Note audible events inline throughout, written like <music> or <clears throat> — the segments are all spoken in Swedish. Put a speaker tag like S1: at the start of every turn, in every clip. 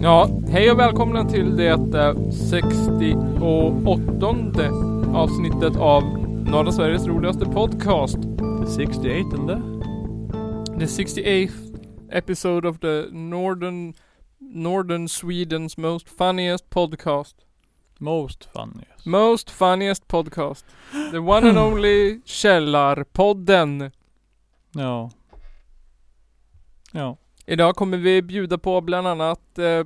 S1: Ja, hej och välkomna till det eh, 68 avsnittet av norra Sveriges roligaste podcast.
S2: The 68 ende
S1: The 68th episode of the Northern Northern Sweden's most funniest podcast.
S2: Most funniest.
S1: Most funniest podcast. The one and only Källarpodden.
S2: Ja. Ja.
S1: Idag kommer vi bjuda på bland annat eh,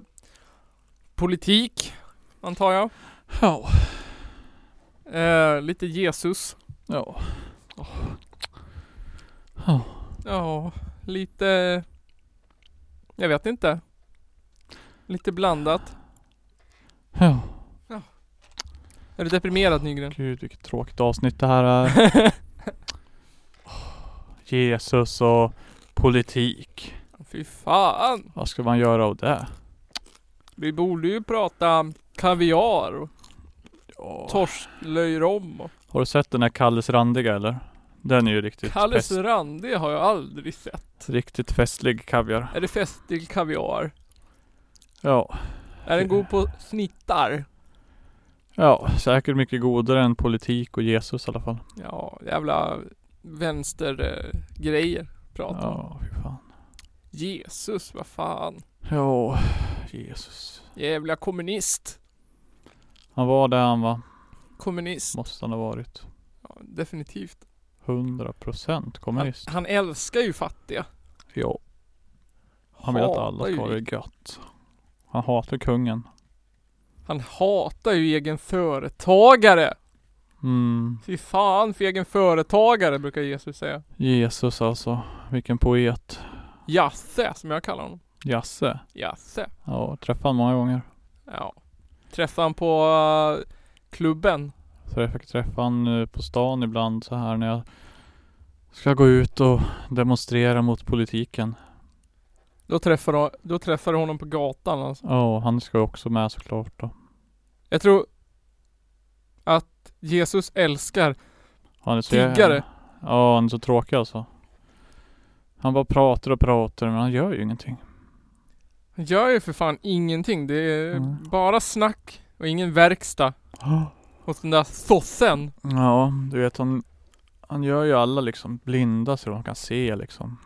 S1: politik, antar jag.
S2: Ja.
S1: Eh, lite Jesus.
S2: Ja.
S1: Ja, lite... Jag vet inte. Lite blandat.
S2: Ja.
S1: Är du deprimerad
S2: <laughs>
S1: Nygren?
S2: Gud vilket tråkigt avsnitt det här <laughs> är. Jesus och politik.
S1: Fy fan.
S2: Vad ska man göra av det?
S1: Vi borde ju prata kaviar och
S2: Ja.
S1: torsklöjrom. och-
S2: Har du sett den här Kalles randiga eller? Den är ju riktigt,
S1: Kalles
S2: fest,
S1: randig har jag aldrig sett.
S2: riktigt festlig kaviar.
S1: Är det festlig kaviar?
S2: Ja.
S1: Är den god på snittar?
S2: Ja, säkert mycket godare än politik och Jesus i alla fall.
S1: Ja, jävla vänstergrejer pratar om.
S2: Ja, fy fan.
S1: Jesus, vad fan.
S2: Ja, Jesus.
S1: Jävla kommunist.
S2: Han var där han var.
S1: Kommunist.
S2: Måste han ha varit.
S1: Ja, definitivt.
S2: 100%
S1: Han,
S2: kommunist.
S1: han älskar ju fattiga.
S2: Ja. Han vill att
S1: Hatar
S2: alla
S1: ju
S2: ska ha
S1: rik-
S2: det gött. Han hatar kungen.
S1: Han hatar ju egen företagare.
S2: Mm.
S1: Fy fan för egen företagare brukar Jesus säga.
S2: Jesus alltså. Vilken poet.
S1: Jasse som jag kallar honom.
S2: Jasse.
S1: Jasse.
S2: Ja, träffade han många gånger.
S1: Ja. Träffade han på eh, klubben.
S2: Så jag fick träffa han eh, på stan ibland så här när jag ska gå ut och demonstrera mot politiken.
S1: Då träffade, hon- då träffade hon honom på gatan alltså.
S2: Ja, han ska ju också med såklart då.
S1: Jag tror att Jesus älskar
S2: Han är så
S1: tiggare.
S2: Ja, han är så tråkig alltså. Han bara pratar och pratar men han gör
S1: <gasps>
S2: ju ingenting.
S1: Han gör ju för fan ingenting. Det är
S2: Mm.
S1: bara snack och ingen verkstad hos den där sossen.
S2: Ja, du vet han, han gör ju alla liksom blinda så de kan se liksom.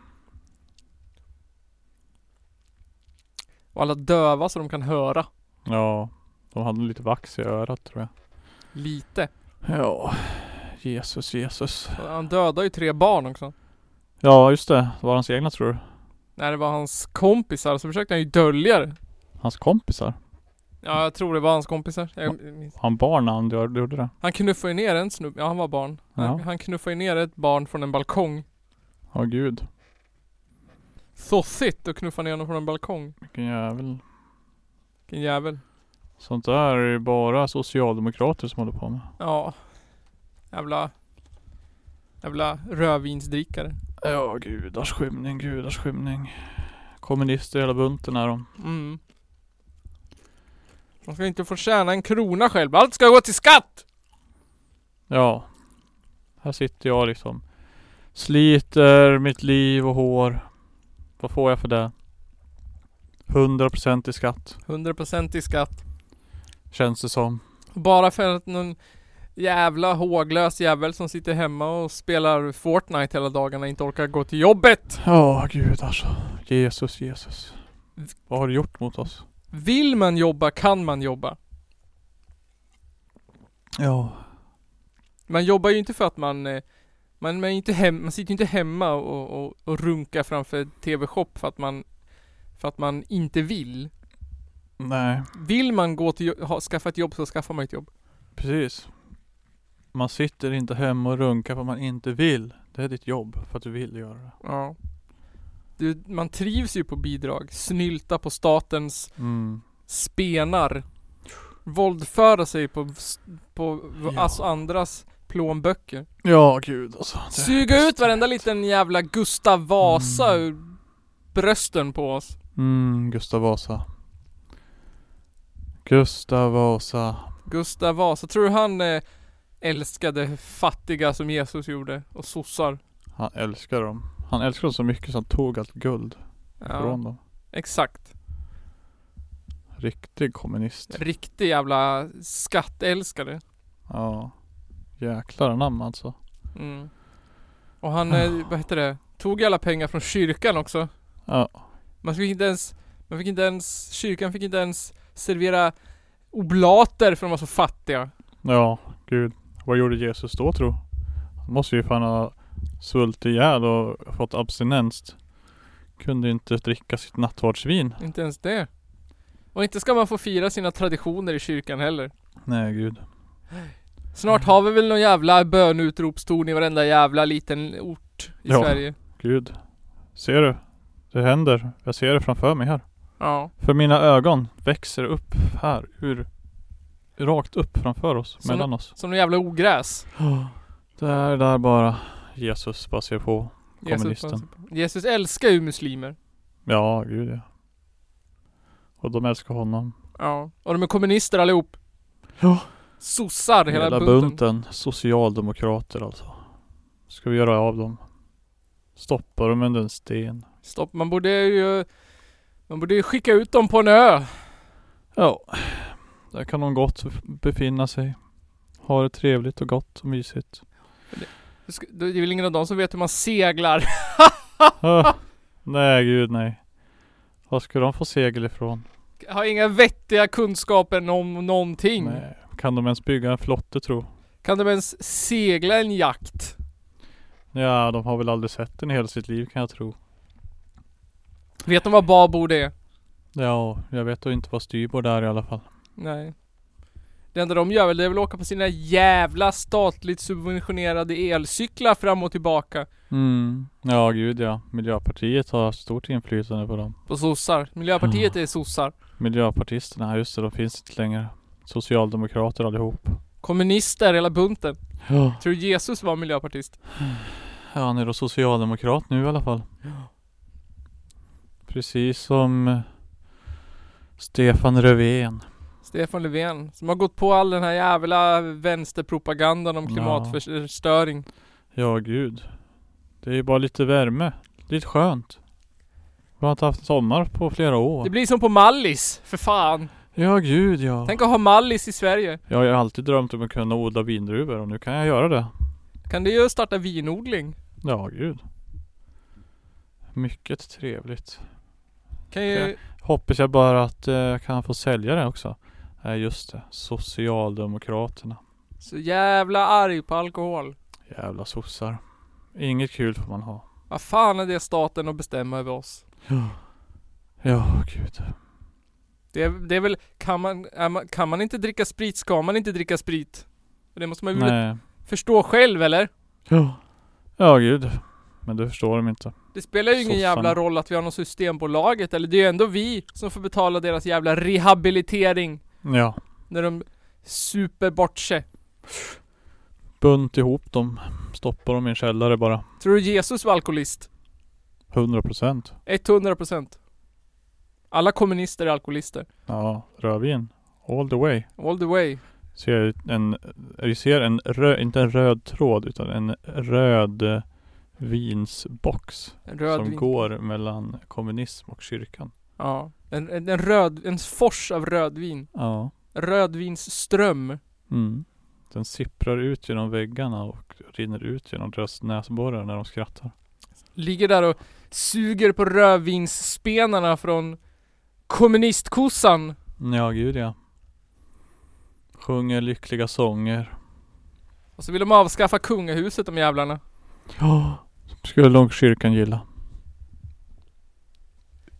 S1: Och alla döva så de kan höra.
S2: Ja, de hade lite vax i örat tror jag.
S1: Lite.
S2: Ja, Jesus, Jesus.
S1: Han dödade ju tre barn också.
S2: Ja, just det. Det var hans egna tror du?
S1: När det var hans kompisar så försökte han ju dölja det.
S2: Hans kompisar.
S1: Ja, jag tror det var hans kompisar. Jag minns.
S2: Han barn när han gör- gjorde det.
S1: Han knuffade ju ner en snubbe. Ja, han var barn. Han,
S2: Ja.
S1: han knuffade ju ner ett barn från en balkong.
S2: Ja, gud.
S1: Sossigt att knuffa ner honom från en balkong.
S2: Vilken jävel.
S1: Vilken jävel.
S2: Sånt där är ju bara socialdemokrater som håller på med.
S1: Ja. Jävla... Jävla rödvinsdrickare.
S2: Ja, gudars skymning, gudars skymning. Kommunister i hela bunten är de.
S1: Mm. Man ska inte få tjäna en krona själv. Allt ska gå till skatt!
S2: Ja. Här sitter jag liksom. Sliter mitt liv och hår. Vad får jag för det? 100% i skatt.
S1: 100% i skatt.
S2: Känns det som.
S1: Bara för att någon jävla håglös jävel som sitter hemma och spelar Fortnite hela dagarna inte orkar gå till jobbet.
S2: Ja, gud alltså. Jesus, Jesus. Vad har du gjort mot oss?
S1: Vill man jobba kan man jobba.
S2: Ja.
S1: Man jobbar ju inte för att man eh, man, man, är inte hem, man sitter ju inte hemma och, och, och runkar framför TV-shop för att man för att man inte vill.
S2: Nej,
S1: Vill man gå till, jo- ha, skaffa ett jobb så skaffar man ett jobb.
S2: precis. Man sitter inte hemma och runkar för att man inte vill. Det är ditt jobb för att du vill göra det.
S1: Ja. Du, man trivs ju på bidrag. Snylta på statens
S2: Mm.
S1: spenar. Våldföra sig på, på
S2: Ja.
S1: alltså andras plånböcker.
S2: Ja, gud alltså. Det-
S1: Suga ut varenda liten jävla Gustav Vasa
S2: Mm.
S1: ur brösten på oss.
S2: Mm, Gustav Vasa. Gustav Vasa.
S1: Gustav Vasa, tror du han eh, älskade fattiga som Jesus gjorde? Och sossar?
S2: Han älskar dem. Han älskar dem så mycket så han tog allt guld. ifrån dem.
S1: Exakt.
S2: Riktig kommunist.
S1: Riktig jävla skattälskare.
S2: Ja. Jäklar namn alltså.
S1: Mm. Och han,
S2: Ah.
S1: eh, vad heter det, tog alla pengar från kyrkan också.
S2: Ja.
S1: Man fick inte ens, man fick inte ens, kyrkan fick inte ens servera oblater för de var så fattiga.
S2: Ja, gud. Vad gjorde Jesus då tro? Han måste ju fan ha svultit ihjäl och fått abstinens. Kunde inte dricka sitt nattvardsvin.
S1: Inte ens det. Och inte ska man få fira sina traditioner i kyrkan heller.
S2: Nej gud.
S1: Snart har vi väl någon jävla bönutropstorn i varenda jävla liten ort i
S2: Ja.
S1: Sverige.
S2: Gud. Ser du? Det händer. Jag ser det framför mig här.
S1: Ja.
S2: För mina ögon växer upp här ur Rakt upp framför oss,
S1: Så
S2: mellan <gasps> oss.
S1: Som någon jävla ogräs.
S2: Där, där bara. Jesus bara ser på. Kommunisten.
S1: Jesus, Jesus älskar ju muslimer.
S2: Ja, gud ja. Och de älskar honom.
S1: Ja. Och de är kommunister allihop.
S2: Ja.
S1: Sossar hela,
S2: Hela,
S1: bunten.
S2: bunten. Socialdemokrater alltså. Ska vi göra av dem. Stoppa dem under en sten.
S1: Stopp, man borde ju... Man borde ju skicka ut dem på en ö.
S2: Ja. Där kan de gott befinna sig. Ha det trevligt och gott och mysigt.
S1: Det sk- Det är väl ingen av dem som vet hur man seglar. <laughs>
S2: Ah, nej, gud nej. Var ska de få segel ifrån?
S1: Har inga vettiga kunskaper om någonting.
S2: Nej. Kan de ens bygga en flotte tro?
S1: Kan de ens segla en jakt?
S2: Ja, de har väl aldrig sett den i hela sitt liv kan jag tro.
S1: Vet de vad babord är?
S2: Ja, jag vet då inte vad styrbord är i alla fall.
S1: Nej. Det enda de gör väl, det är väl åka på sina jävla statligt subventionerade elcyklar fram och tillbaka.
S2: Mm. Ja, gud ja. Miljöpartiet har haft stort inflytande på dem.
S1: På sossar. Miljöpartiet
S2: Mm.
S1: är sossar.
S2: Miljöpartisterna, just det, de finns inte längre. Socialdemokrater allihop.
S1: Kommunister, hela bunten.
S2: Ja.
S1: Tror du Jesus var miljöpartist?
S2: Han är då socialdemokrat nu i alla fall. Precis som eh, Stefan Löfven.
S1: Stefan Löfven, som har gått på all den här jävla vänsterpropagandan om
S2: Ja.
S1: klimatförstöring.
S2: Ja, gud. Det är ju bara lite värme. Lite skönt. Vi har inte haft sommar på flera år.
S1: Det blir som på Mallis, för fan.
S2: Ja, gud ja.
S1: Tänk att ha Mallis i Sverige.
S2: Jag har ju alltid drömt om att kunna odla vindruvor och nu kan jag göra det.
S1: Kan du ju starta vinodling.
S2: Ja, gud. Mycket trevligt.
S1: Kan ju...
S2: Okej. Hoppas jag bara att eh, jag kan få sälja det också. Nej, just det. Socialdemokraterna.
S1: Så jävla arg på alkohol.
S2: Jävla sossar. Inget kul får man ha.
S1: Vad fan är det staten att bestämma över oss?
S2: Ja. Ja, gud.
S1: Det är, det är väl, kan man, är man, kan man inte dricka sprit ska man inte dricka sprit. Det måste man ju väl
S2: Nej.
S1: förstå själv eller?
S2: Ja. Ja, gud. Men det förstår de inte.
S1: Det spelar ju ingen
S2: Sossarna.
S1: jävla roll att vi har något Systembolaget eller det är ju ändå vi som får betala deras jävla rehabilitering.
S2: Ja.
S1: När de super bort sig.
S2: Bunt ihop dem. Stoppar dem i en källare bara.
S1: Tror du Jesus var alkoholist?
S2: 100 procent.
S1: 100% Alla kommunister är alkoholister.
S2: Ja, rödvin. All the way.
S1: All the way.
S2: ser jag ut en, jag ser en röd, inte en röd tråd utan en röd eh, vinsbox
S1: En röd
S2: som
S1: vin.
S2: går mellan kommunism och kyrkan.
S1: Ja. En, en, en röd, en fors av rödvin.
S2: Ja.
S1: Rödvinsström.
S2: Mm. Den sipprar ut genom väggarna och rinner ut genom deras näsborrar när de skrattar.
S1: Ligger där och suger på rödvinsspenarna från kommunistkossan.
S2: Ja, gud ja. Sjunger lyckliga sånger.
S1: Och så vill de avskaffa kungahuset de jävlarna.
S2: Ja. Skulle nog kyrkan gilla.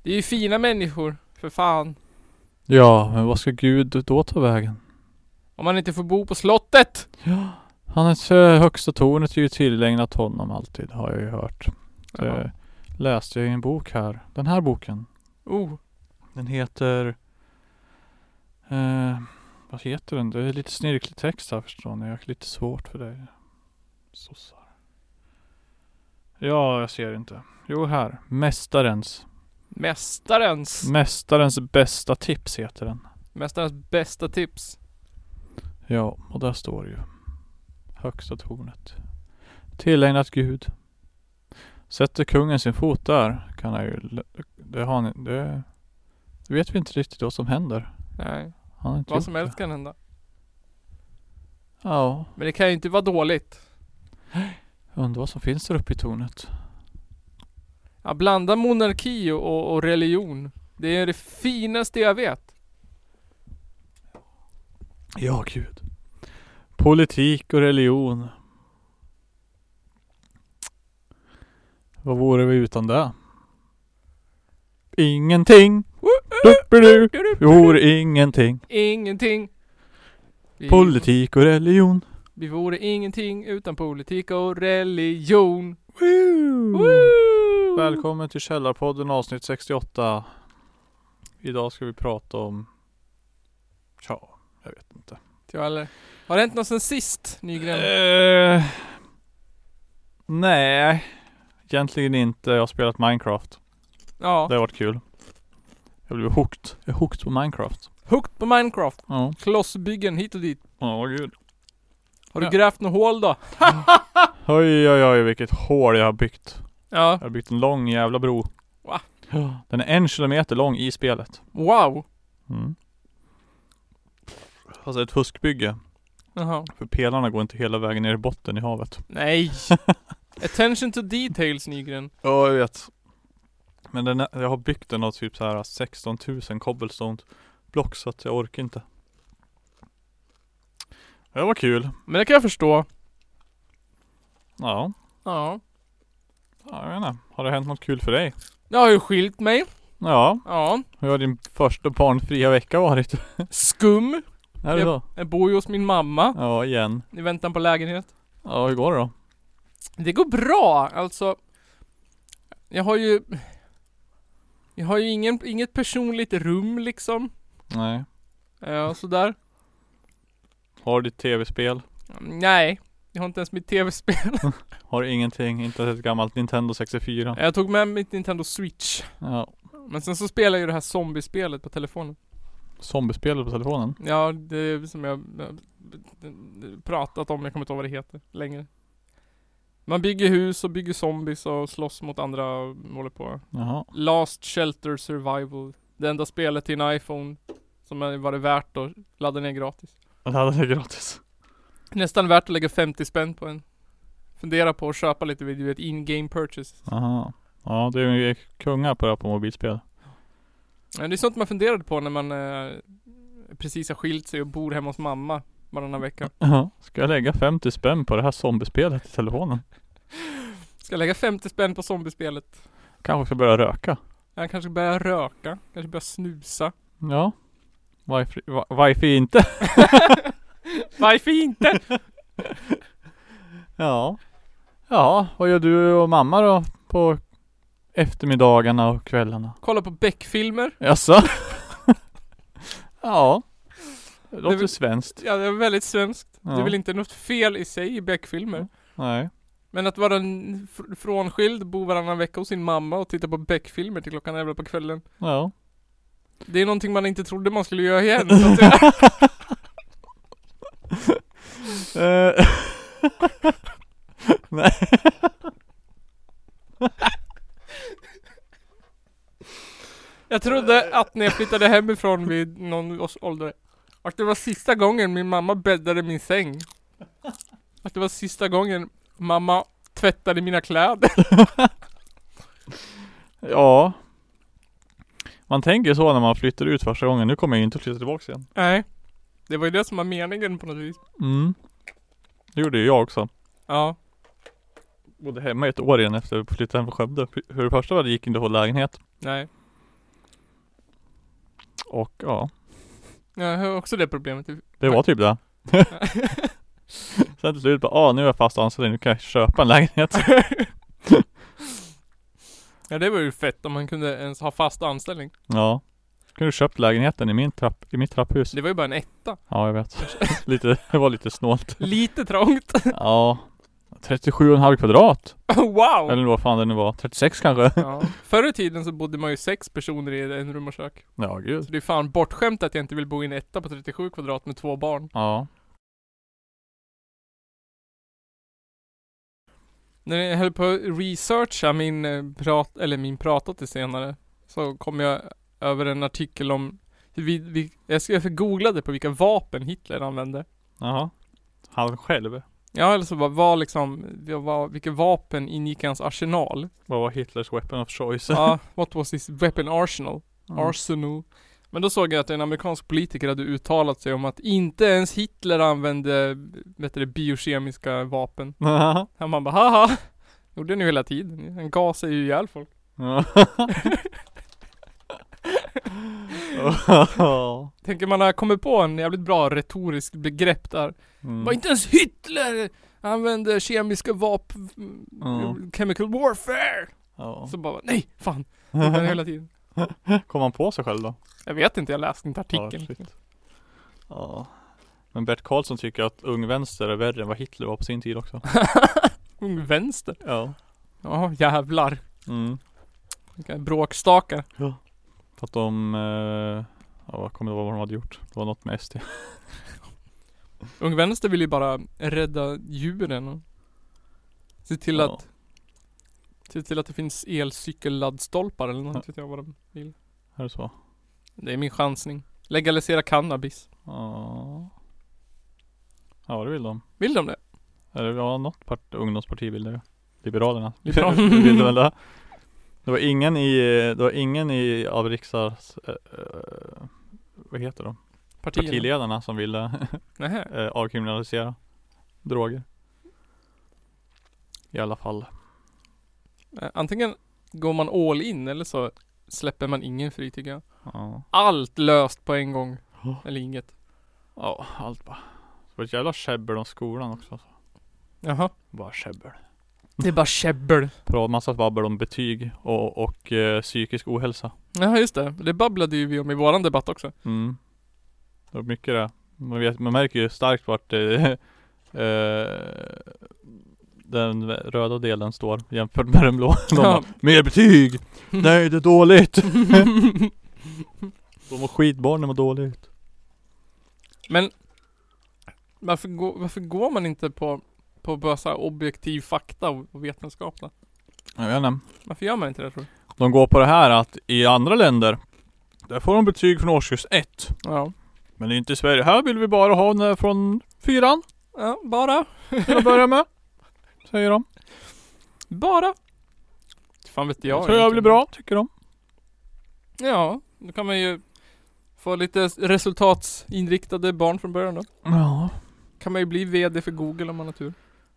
S1: Det är ju fina människor. För fan.
S2: Ja, men vad ska Gud då ta vägen?
S1: Om man inte får bo på slottet.
S2: Ja. Hans eh, högsta tornet är ju tillägnat honom alltid, har jag ju hört.
S1: Ja.
S2: Det läste jag i en bok här. Den här boken.
S1: Oh.
S2: Den heter... Eh, vad heter den? Det är lite snirklig text här förstår ni. Jag har lite svårt för dig. Sossar. Ja, jag ser inte. Jo, här. Mästarens. Mm.
S1: Mästarens.
S2: Mästarens bästa tips heter den.
S1: Mästarens bästa tips.
S2: Ja, och där står det ju. Högsta tornet. Tillägnat Gud. Sätter kungen sin fot där kan han ju l- Det har ni, det, det vet vi inte riktigt vad som händer.
S1: Nej.
S2: Han har inte
S1: Vad
S2: gjort
S1: som
S2: det.
S1: helst kan hända.
S2: Ja,
S1: Men det kan ju inte vara dåligt.
S2: undrar vad som finns där uppe i tornet.
S1: Ja, blanda monarki och- och, och religion. Det är det finaste jag vet.
S2: Ja, gud. Politik och religion. Vad vore vi utan det? Ingenting. Du-bi-du. Vi vore ingenting.
S1: Ingenting. Vi,
S2: Politik och religion.
S1: vi vore ingenting utan politik och religion.
S2: Woo!
S1: Woo!
S2: Välkommen till Källarpodden avsnitt 68. Idag ska vi prata om... Tja, jag vet inte.
S1: Ja, eller? Har det hänt något sen sist Nygren?
S2: Eh, nej, egentligen inte. Jag har spelat Minecraft.
S1: Ja.
S2: Det har varit kul. Jag blev hooked. Jag är hooked på Minecraft.
S1: Hooked på Minecraft.
S2: Ja.
S1: Klossbyggen hit och dit.
S2: Ja, gud.
S1: Har du
S2: Ja.
S1: grävt något hål då?
S2: Oj, oj, oj, vilket hål jag har byggt.
S1: Ja.
S2: Jag har byggt en lång jävla bro.
S1: Va?
S2: Ja, Den är en kilometer lång i spelet.
S1: Wow.
S2: Mm. Alltså ett fuskbygge.
S1: Jaha.
S2: För pelarna går inte hela vägen ner i botten i havet.
S1: Nej. Attention to details Nygren.
S2: Ja, jag vet. Men den, är- jag har byggt den av typ så här 16 000 cobblestone block så att jag orkar inte. Det var kul.
S1: Men det kan jag förstå.
S2: Ja,
S1: Ja.
S2: ja jag vet inte. Har det hänt något kul för dig?
S1: Jag har ju skilt mig.
S2: Ja,
S1: Ja.
S2: hur har din första barnfria vecka varit? <laughs>
S1: Skum.
S2: Är det
S1: Japp.
S2: så?
S1: Jag bor ju hos min mamma
S2: Ja, igen.
S1: i väntan på lägenhet.
S2: Ja, hur går det då?
S1: Det går bra. Alltså. Jag har ju. Jag har ju ingen, inget personligt rum liksom.
S2: Nej.
S1: Eh, sådär.
S2: Har du ditt tv-spel?
S1: Nej. Jag har inte ens mitt tv-spel.
S2: Har du ingenting? Inte ens ett gammalt Nintendo 64?
S1: Jag tog med mitt Nintendo Switch.
S2: Ja.
S1: Men sen så spelar jag ju det här zombiespelet på telefonen.
S2: Zombiespelet på telefonen?
S1: Ja, det är som jag jag- jag pratat om, jag kommer inte ihåg vad det heter längre. Man bygger hus och bygger zombies och slåss mot andra och håller på.
S2: Jaha.
S1: Last Shelter Survival. Det enda spelet till en iPhone som är- var det värt att ladda ner gratis.
S2: Det hade jag gratis.
S1: Nästan värt att lägga 50 spänn på en. Fundera på att köpa lite vid du vet, in-game purchase.
S2: Jaha. Ja, det är ju kungar på det här på mobilspel.
S1: Ja, Det är sånt man funderade på när man eh, precis har skilt sig och bor hemma hos mamma varannan vecka.
S2: Ja, ska jag lägga 50 spänn på det här zombiespelet i telefonen?
S1: Ska jag lägga 50 spänn på zombiespelet.
S2: Kanske ska börja röka?
S1: Jag kanske börjar röka, kanske börjar snusa. <laughs>
S2: Ja. Varför, va- varför inte?
S1: Varför inte?
S2: Ja. Ja, vad gör du och mamma då på eftermiddagarna och kvällarna?
S1: Kolla på Beck-filmer.
S2: Jaså? <laughs> ja. Det
S1: Det är
S2: låter
S1: väl-
S2: svenskt.
S1: Ja, det är väldigt svenskt. Det
S2: Ja.
S1: är väl inte något fel i sig i Beck-filmer.
S2: Nej.
S1: Men att vara en fr- frånskild, bo varannan vecka hos sin mamma och titta på Beck-filmer till klockan 11 på kvällen.
S2: Ja.
S1: Det är någonting man inte trodde man skulle göra igen. Så att jag,
S2: Eh, Nej.
S1: jag trodde att när jag flyttade hemifrån vid någon års ålder, att det var sista gången min mamma bäddade min säng. Att det var sista gången mamma tvättade mina kläder. <laughs>
S2: Ja. Man tänker så när man flyttar ut första gången. Nu kommer jag ju inte att flytta tillbaka igen.
S1: Nej. Det var ju det som var meningen på något vis.
S2: Mm. Det gjorde ju jag också.
S1: Ja.
S2: Bodde hemma ett år igen efter att flyttade hem från Skövde. För det första var det gick inte att få lägenhet.
S1: Nej.
S2: Och ja,
S1: Jag har också det problemet.
S2: det var typ det. Sen till slut bara, ah nu är jag fast anställd, nu kan jag köpa en <laughs> lägenhet.
S1: Ja det var ju fett om man kunde ens ha fast anställning.
S2: Ja. Kunde köpt lägenheten i, min trapp, i mitt trapphus.
S1: Det var ju bara en etta.
S2: Ja, jag <laughs> vet. Lite, det var lite snålt.
S1: Lite trångt.
S2: Ja. 37,5 kvadrat.
S1: <laughs> wow!
S2: Eller vad fan det nu var. 36 kanske.
S1: Ja. Förr i tiden så bodde man ju sex personer i en rum och kök.
S2: Ja, gud.
S1: Så det är fan bortskämt att jag inte vill bo i en etta på 37 kvadrat med två barn.
S2: Ja.
S1: När jag höll på att researcha min eh, prat, eller min prata till senare Så kom jag över en artikel om vi, vi, jag skrev- jag googlade på vilka vapen Hitler använde.
S2: Jaha. Han själv?
S1: Ja eller så bara var liksom, det var, vilka vapen ingick i hans arsenal?
S2: Vad var Hitlers weapon of choice?
S1: Ja, what was his weapon arsenal?
S2: Mm.
S1: Arsenal. Men då såg jag att en amerikansk politiker hade uttalat sig om att inte ens Hitler använde, vet du det, biokemiska vapen.
S2: Ja.
S1: Han bara haha! Gjorde ni ju hela tiden. Han gasade ju ihjäl folk.
S2: Ja.
S1: Tänker man har kommit på en jävligt bra retorisk begrepp där.
S2: <laughs>
S1: Var
S2: Mm.
S1: inte ens Hitler använde kemiska vapen,
S2: Mm.
S1: chemical warfare!
S2: Ja.
S1: Så bara nej, fan. Gjorde han hela tiden.
S2: Kom han på sig själv då?
S1: Jag vet inte, jag läste inte artikeln.
S2: Ja, shit. ja. Men Bert Karlsson tycker att Ung Vänster är värre än vad Hitler var på sin tid också.
S1: Ung vänster.
S2: <laughs> Ja.
S1: Ja, jävlar.
S2: Mm.
S1: Vilka bråkstakar.
S2: För att de, eh, ja jag kommer inte ihåg vad de hade gjort. Det var något med SD.
S1: Ung Vänster vill ju bara rädda djuren och se till
S2: Ja.
S1: att Se till att det finns elcykelladdstolpar eller något,
S2: Ja.
S1: vet jag vad de vill.
S2: Är det så?
S1: Det är min chansning. Legalisera cannabis.
S2: Ja. Ja det vill de.
S1: Vill de det?
S2: Eller ja, något part, ungdomsparti ville det. Liberalerna. <laughs>
S1: Liberalerna.
S2: ville väl det. Det var ingen i, det var ingen i av riksdags, eh, eh, vad heter de?
S1: Partierna?
S2: Partiledarna som ville <laughs>
S1: Nähä.
S2: eh, avkriminalisera droger. I alla fall.
S1: Eh, Antingen går man all in eller så släpper man ingen fri tycker jag.
S2: Ja.
S1: Allt löst på en gång.
S2: Ja.
S1: Eller inget.
S2: Ja, allt bara. Det var ett jävla käbbel om skolan också.
S1: Jaha.
S2: Bara käbbel.
S1: Det är bara käbbel.
S2: Pra- Massa babbel om betyg och, och eh, psykisk ohälsa.
S1: Jaha just det. Det babblade ju vi om i våran debatt också.
S2: Mm. Det var mycket det. Man, vet, man märker ju starkt vart <laughs> eh, eh, den röda delen står jämfört med den blå. <laughs> De bara,
S1: Ja.
S2: Mer <laughs> betyg! Nej det är <laughs> dåligt! De mår skitbarn, de mår dåligt.
S1: Men varför, gå, varför går man inte på, på bara så här objektiv fakta och och vetenskap då?
S2: Jag vet inte.
S1: Varför gör man inte det tror du?
S2: De går på det här att i andra länder, där får de betyg från årskurs 1.
S1: Ja.
S2: Men inte i Sverige. Här vill vi bara ha den från fyran
S1: ja bara.
S2: till att börja med. Säger de.
S1: Bara. Fan vet jag.
S2: Jag tror jag blir
S1: egentligen.
S2: bra, tycker de.
S1: Ja. Då kan man ju få lite s- resultatsinriktade barn från början då.
S2: Ja.
S1: Kan man ju bli VD för Google om man har tur.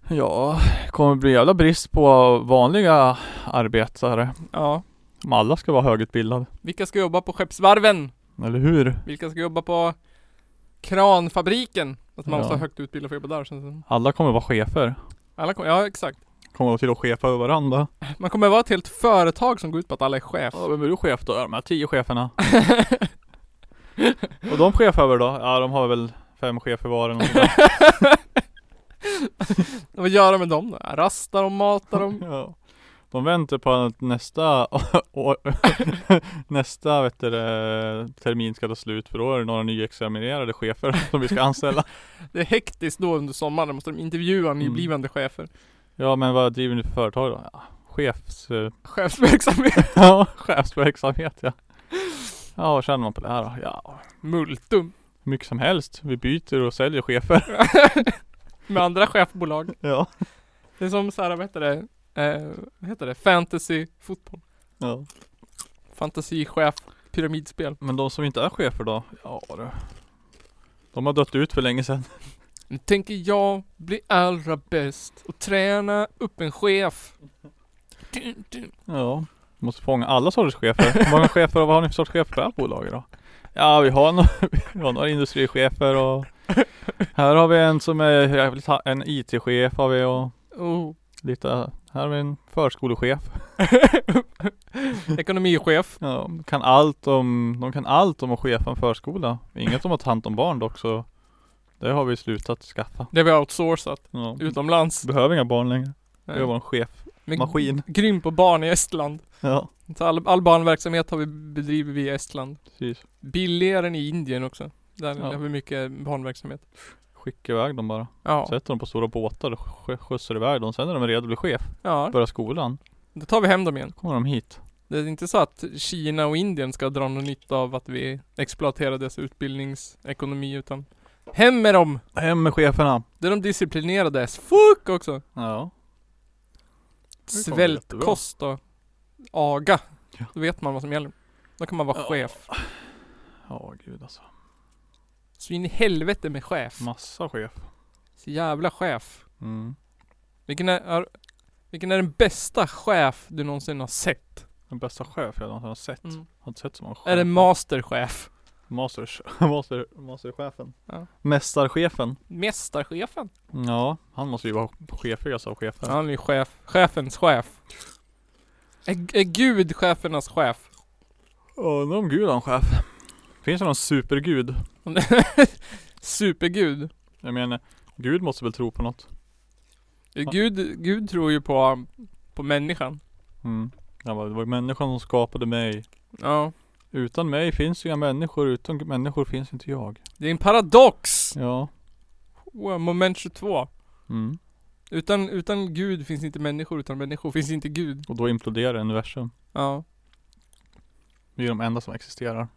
S2: Ja, det kommer bli jävla brist på vanliga arbetare.
S1: Ja.
S2: Om alla ska vara högutbildade.
S1: Vilka ska jobba på Skeppsvarven?
S2: Eller hur?
S1: Vilka ska jobba på Kranfabriken? Att man
S2: Ja.
S1: måste ha högt utbildad för att jobba där känns det som.
S2: Alla kommer vara chefer.
S1: Alla kommer, ja exakt.
S2: Kommer till att chefa över varandra.
S1: Man kommer vara ett helt företag som går ut på att alla är chef.
S2: Ja, vem är du chef då? Ja, De här tio cheferna. Och de chefer över då? Ja, de har väl fem chefer var eller något sånt där.
S1: Vad gör de med dem då? Rastar de, matar de?
S2: <laughs> ja. De väntar på att nästa <laughs> år- Nästa vet du, det, termin ska ta slut för då är det några nyexaminerade chefer <laughs> som vi ska anställa
S1: Det är hektiskt då under sommaren, då måste de intervjua nyblivande chefer.
S2: Ja men vad driver ni för företag då? Ja, chefs.. eh,
S1: Chefsverksamhet. <laughs>
S2: <laughs> Ja, chefsverksamhet ja. Ja, vad känner man på det här då? Ja,
S1: Multum. <laughs>
S2: hur mycket som helst. Vi byter och säljer chefer.
S1: Med andra chefbolag.
S2: <laughs> Ja.
S1: Det är som såhär, vad heter det? Eh, vad heter det? Fantasy fotboll.
S2: ja.
S1: Fantasichef. Pyramidspel.
S2: Men de som inte är chefer då? Ja du. De har dött ut för länge sedan.
S1: Nu tänker jag bli allra bäst och träna upp en chef. Dun, dun.
S2: Ja. Måste fånga alla sorters chefer. Hur många chefer och vad har ni för sorts chefer på ert bolag då? Ja, vi har, no- vi har några <laughs> industrichefer och här har vi en som är jävligt ha- en IT-chef har vi och
S1: Oh. <laughs>
S2: lite, här har vi en förskolechef.
S1: Ekonomichef.
S2: Ja, de kan allt om, de kan allt om att chefa en förskola. Inget om att ta hand om barn dock så det har vi slutat skaffa.
S1: Det vi har outsourcat.
S2: Ja.
S1: Utomlands.
S2: Behöver inga barn längre.
S1: Nej.
S2: Jag var en chef.
S1: Men
S2: maskin.
S1: Grym på barn i Estland.
S2: Ja,
S1: Så all, all barnverksamhet har vi bedrivit via Estland.
S2: precis.
S1: Billigare än i Indien också. Där
S2: Ja.
S1: har vi mycket barnverksamhet.
S2: Skicka iväg dem bara.
S1: Ja,
S2: Sätter dem på stora båtar och sk- skjutsar iväg dem. Sen när de är redo att bli chef,
S1: ja.
S2: börjar skolan,
S1: Då tar vi hem dem igen.
S2: kommer de hit.
S1: Det är inte så att Kina och Indien ska dra någon nytta av att vi exploaterar deras utbildningsekonomi utan Hem med dem!
S2: Hem med cheferna.
S1: Det är de disciplinerade as fuck också!
S2: Ja. Det kommer jättebra.
S1: Svältkost och aga.
S2: Ja.
S1: Då vet man vad som gäller. Då kan man vara
S2: Ja.
S1: chef.
S2: Ja, gud alltså.
S1: Så in i helvete med chef.
S2: Massa chef.
S1: Så jävla chef.
S2: Mm.
S1: Vilken är, är, vilken är den bästa chef du någonsin har sett?
S2: Den bästa chef jag någonsin har sett. Har inte sett så många chef.
S1: Mm. Är det masterchef?
S2: Masters, <laughs> master, masterchefen.
S1: Ja.
S2: Mästarchefen.
S1: Mästarchefen?
S2: Ja, han måste ju vara chefigast av chefer.
S1: Han är ju chef. Chefens chef. Är, är Gud chefernas chef? <laughs>
S2: Ja, Undrar om Gud har en chef. Finns det någon supergud?
S1: Supergud.
S2: Jag menar, Gud måste väl tro på något?
S1: Gud, Gud tror ju på, på människan.
S2: Mm. Han bara, det var människan som skapade mig.
S1: Ja.
S2: Utan mig finns inga människor, utan människor finns inte jag.
S1: Det är en paradox!
S2: Ja.
S1: Wow, moment 22.
S2: Mm.
S1: Utan, utan Gud finns inte människor, utan människor finns inte Gud.
S2: Och då imploderar universum.
S1: Ja.
S2: Vi är de enda som existerar.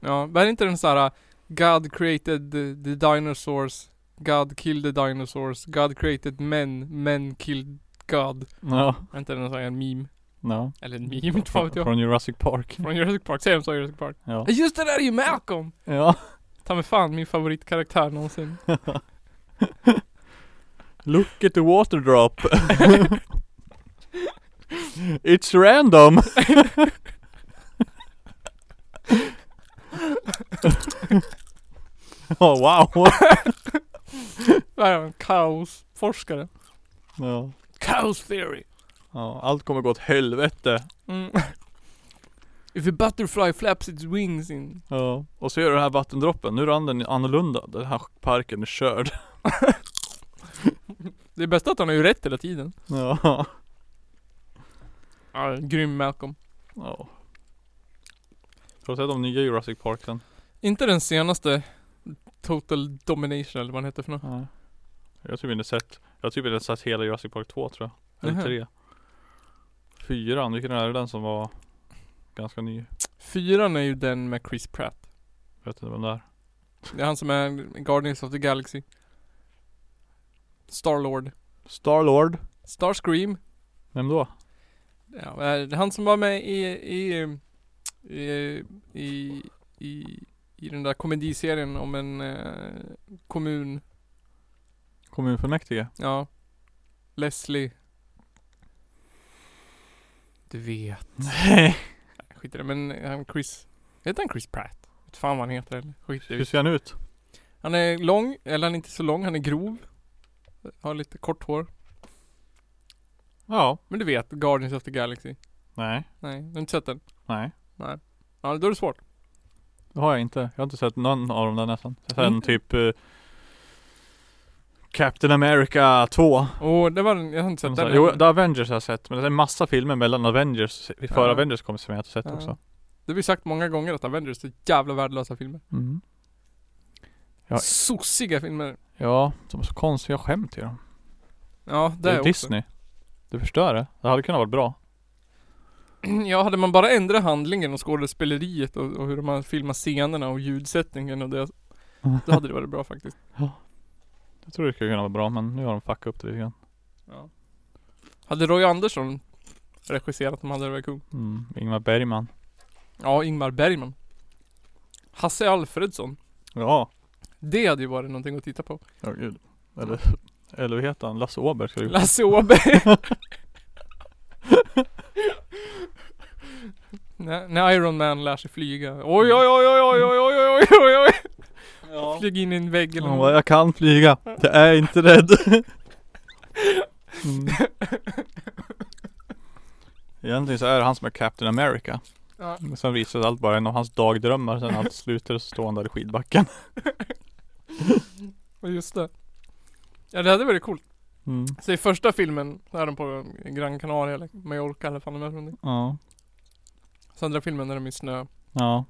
S1: Ja, var det inte den såhär uh, God created the, the dinosaurs, God killed the dinosaurs, God created men, men killed God.
S2: Ja.
S1: Var inte den sån här meme?
S2: Ja.
S1: Eller en meme, inte fan vet <laughs> jag.
S2: Från Jurassic Park.
S1: Från Jurassic Park, säger de så i Jurassic Park?
S2: Ja.
S1: Ja, Just det där är ju Malcolm!
S2: Ja.
S1: Ta mig fan min favoritkaraktär någonsin. <laughs>
S2: Look at the water drop. <laughs> It's random. <laughs> oh wow.
S1: Vad är han? Kaosforskare.
S2: Ja.
S1: Kaos theory!
S2: ja, allt kommer gå åt helvete.
S1: Mm. <laughs> If a butterfly flaps its wings in...
S2: Ja. Och så gör du den här vattendroppen. Nu rann den annorlunda. Den här parken är körd. <laughs>
S1: Det är bäst att han har ju rätt hela tiden.
S2: Ja.
S1: Ja, grym Malcolm.
S2: ja. Har du sett de nya Jurassic Parken?
S1: Inte den senaste Total Domination eller vad den heter för något.
S2: Nej. Jag har typ inte sett, jag har typ inte sett hela Jurassic Park 2 tror jag. Eller
S1: Nähä.
S2: tre. Fyran, vilken är det den som var ganska ny?
S1: Fyran är ju den med Chris Pratt.
S2: Vet inte vem det är?
S1: Det är han som är Guardians of the Galaxy. Starlord.
S2: Starlord.
S1: Starscream.
S2: Vem då?
S1: Ja, eh, det är han som var med i, i, i, i, i, i den där komediserien om en eh, kommun.
S2: Kommunfullmäktige?
S1: Ja. Leslie. Du vet.
S2: <laughs> Nej.
S1: Skit i det. Men eh, han Chris. Heter han Chris Pratt? Vet fan vad han heter eller? Skit i
S2: Hur
S1: det.
S2: ser han ut?
S1: Han är lång. Eller han är inte så lång. Han är grov. Har lite kort hår.
S2: Ja.
S1: Men du vet. Guardians of the Galaxy.
S2: Nej.
S1: Nej, du har inte sett den?
S2: Nej.
S1: Ja, då är det svårt.
S2: Det har jag inte. Jag har inte sett någon av dem där nästan. Sen
S1: Mm.
S2: typ eh, Captain America 2.
S1: Åh, det var den. Jag har inte sett den.
S2: jo,
S1: än.
S2: The Avengers har jag sett. Men det är en massa filmer mellan Avengers, före
S1: Ja.
S2: Avengers kom som jag inte har sett
S1: Ja.
S2: också.
S1: Det har vi sagt många gånger att Avengers är jävla värdelösa filmer.
S2: Mm. Ja.
S1: Sossiga filmer.
S2: Ja, de har så konstiga skämt i dem.
S1: Ja, det,
S2: Det är
S1: också.
S2: Disney. Du förstör det. Det hade kunnat vara bra.
S1: Ja, hade man bara ändrat handlingen och skådespeleriet och, och hur de har filmat scenerna och ljudsättningen och det.
S2: Mm.
S1: Då hade det varit bra faktiskt.
S2: Jag tror det skulle kunna vara bra men nu har de fuckat upp det lite grann.
S1: Ja. Hade Roy Andersson regisserat om hade det varit kung.
S2: Mm. Ingmar Bergman.
S1: Ja, Ingmar Bergman. Hasse Alfredson.
S2: Ja.
S1: Det hade ju varit någonting att titta på.
S2: Ja gud. Eller, eller vad heter han? Lasse Åberg skulle du <laughs>
S1: Lasse Åberg. när, när Iron Man lär sig flyga. Oj, oj, oj, oj, oj, oj, oj, oj, oj, oj.
S2: Ja.
S1: Flyg in i en vägg eller
S2: Han bara,
S1: något.
S2: jag kan flyga. Jag är inte rädd. <laughs> mm. Egentligen så är det han som är Captain America.
S1: Ja.
S2: Men sen visade allt bara en av hans dagdrömmar. Sen när allt slutade så står han där i skidbacken.
S1: Och just det. Ja det hade varit coolt.
S2: Mm.
S1: Så i första filmen så är de på Gran Canaria eller Mallorca eller fan de är från det.
S2: Ja.
S1: Så andra filmen är de i snö.
S2: Ja.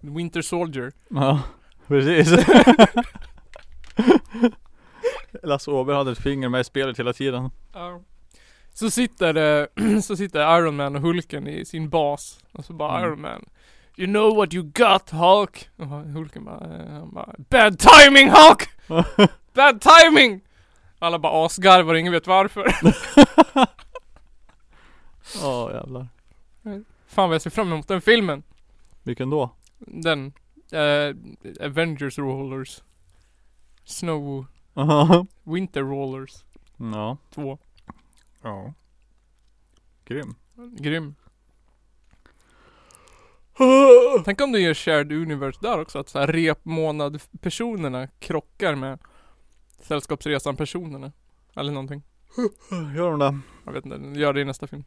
S1: Winter Soldier.
S2: Ja, precis. Lasse Åberg hade ett finger med i spelet hela tiden.
S1: Ja. Så sitter, eh, <clears throat> så sitter Iron Man och Hulken i sin bas. Och så bara
S2: Mm.
S1: Iron Man. You know what you got Hulk? Och Hulken bara, eh, han bara Bad timing Hulk! Bad timing! Alla bara asgarvar, ingen vet varför. <laughs>
S2: Ja jävlar.
S1: Fan vad jag ser fram emot den filmen.
S2: Vilken då? <laughs>
S1: Den. Eh, Avengers Rollers. Snow
S2: Aha.
S1: Winter Rollers
S2: ja.
S1: 2.
S2: Ja. Grym.
S1: Grym. Tänk om du gör shared universe där också, att så här repmånad personerna krockar med Sällskapsresan personerna. Eller någonting.
S2: Gör de det?
S1: Jag vet inte, gör det i nästa film.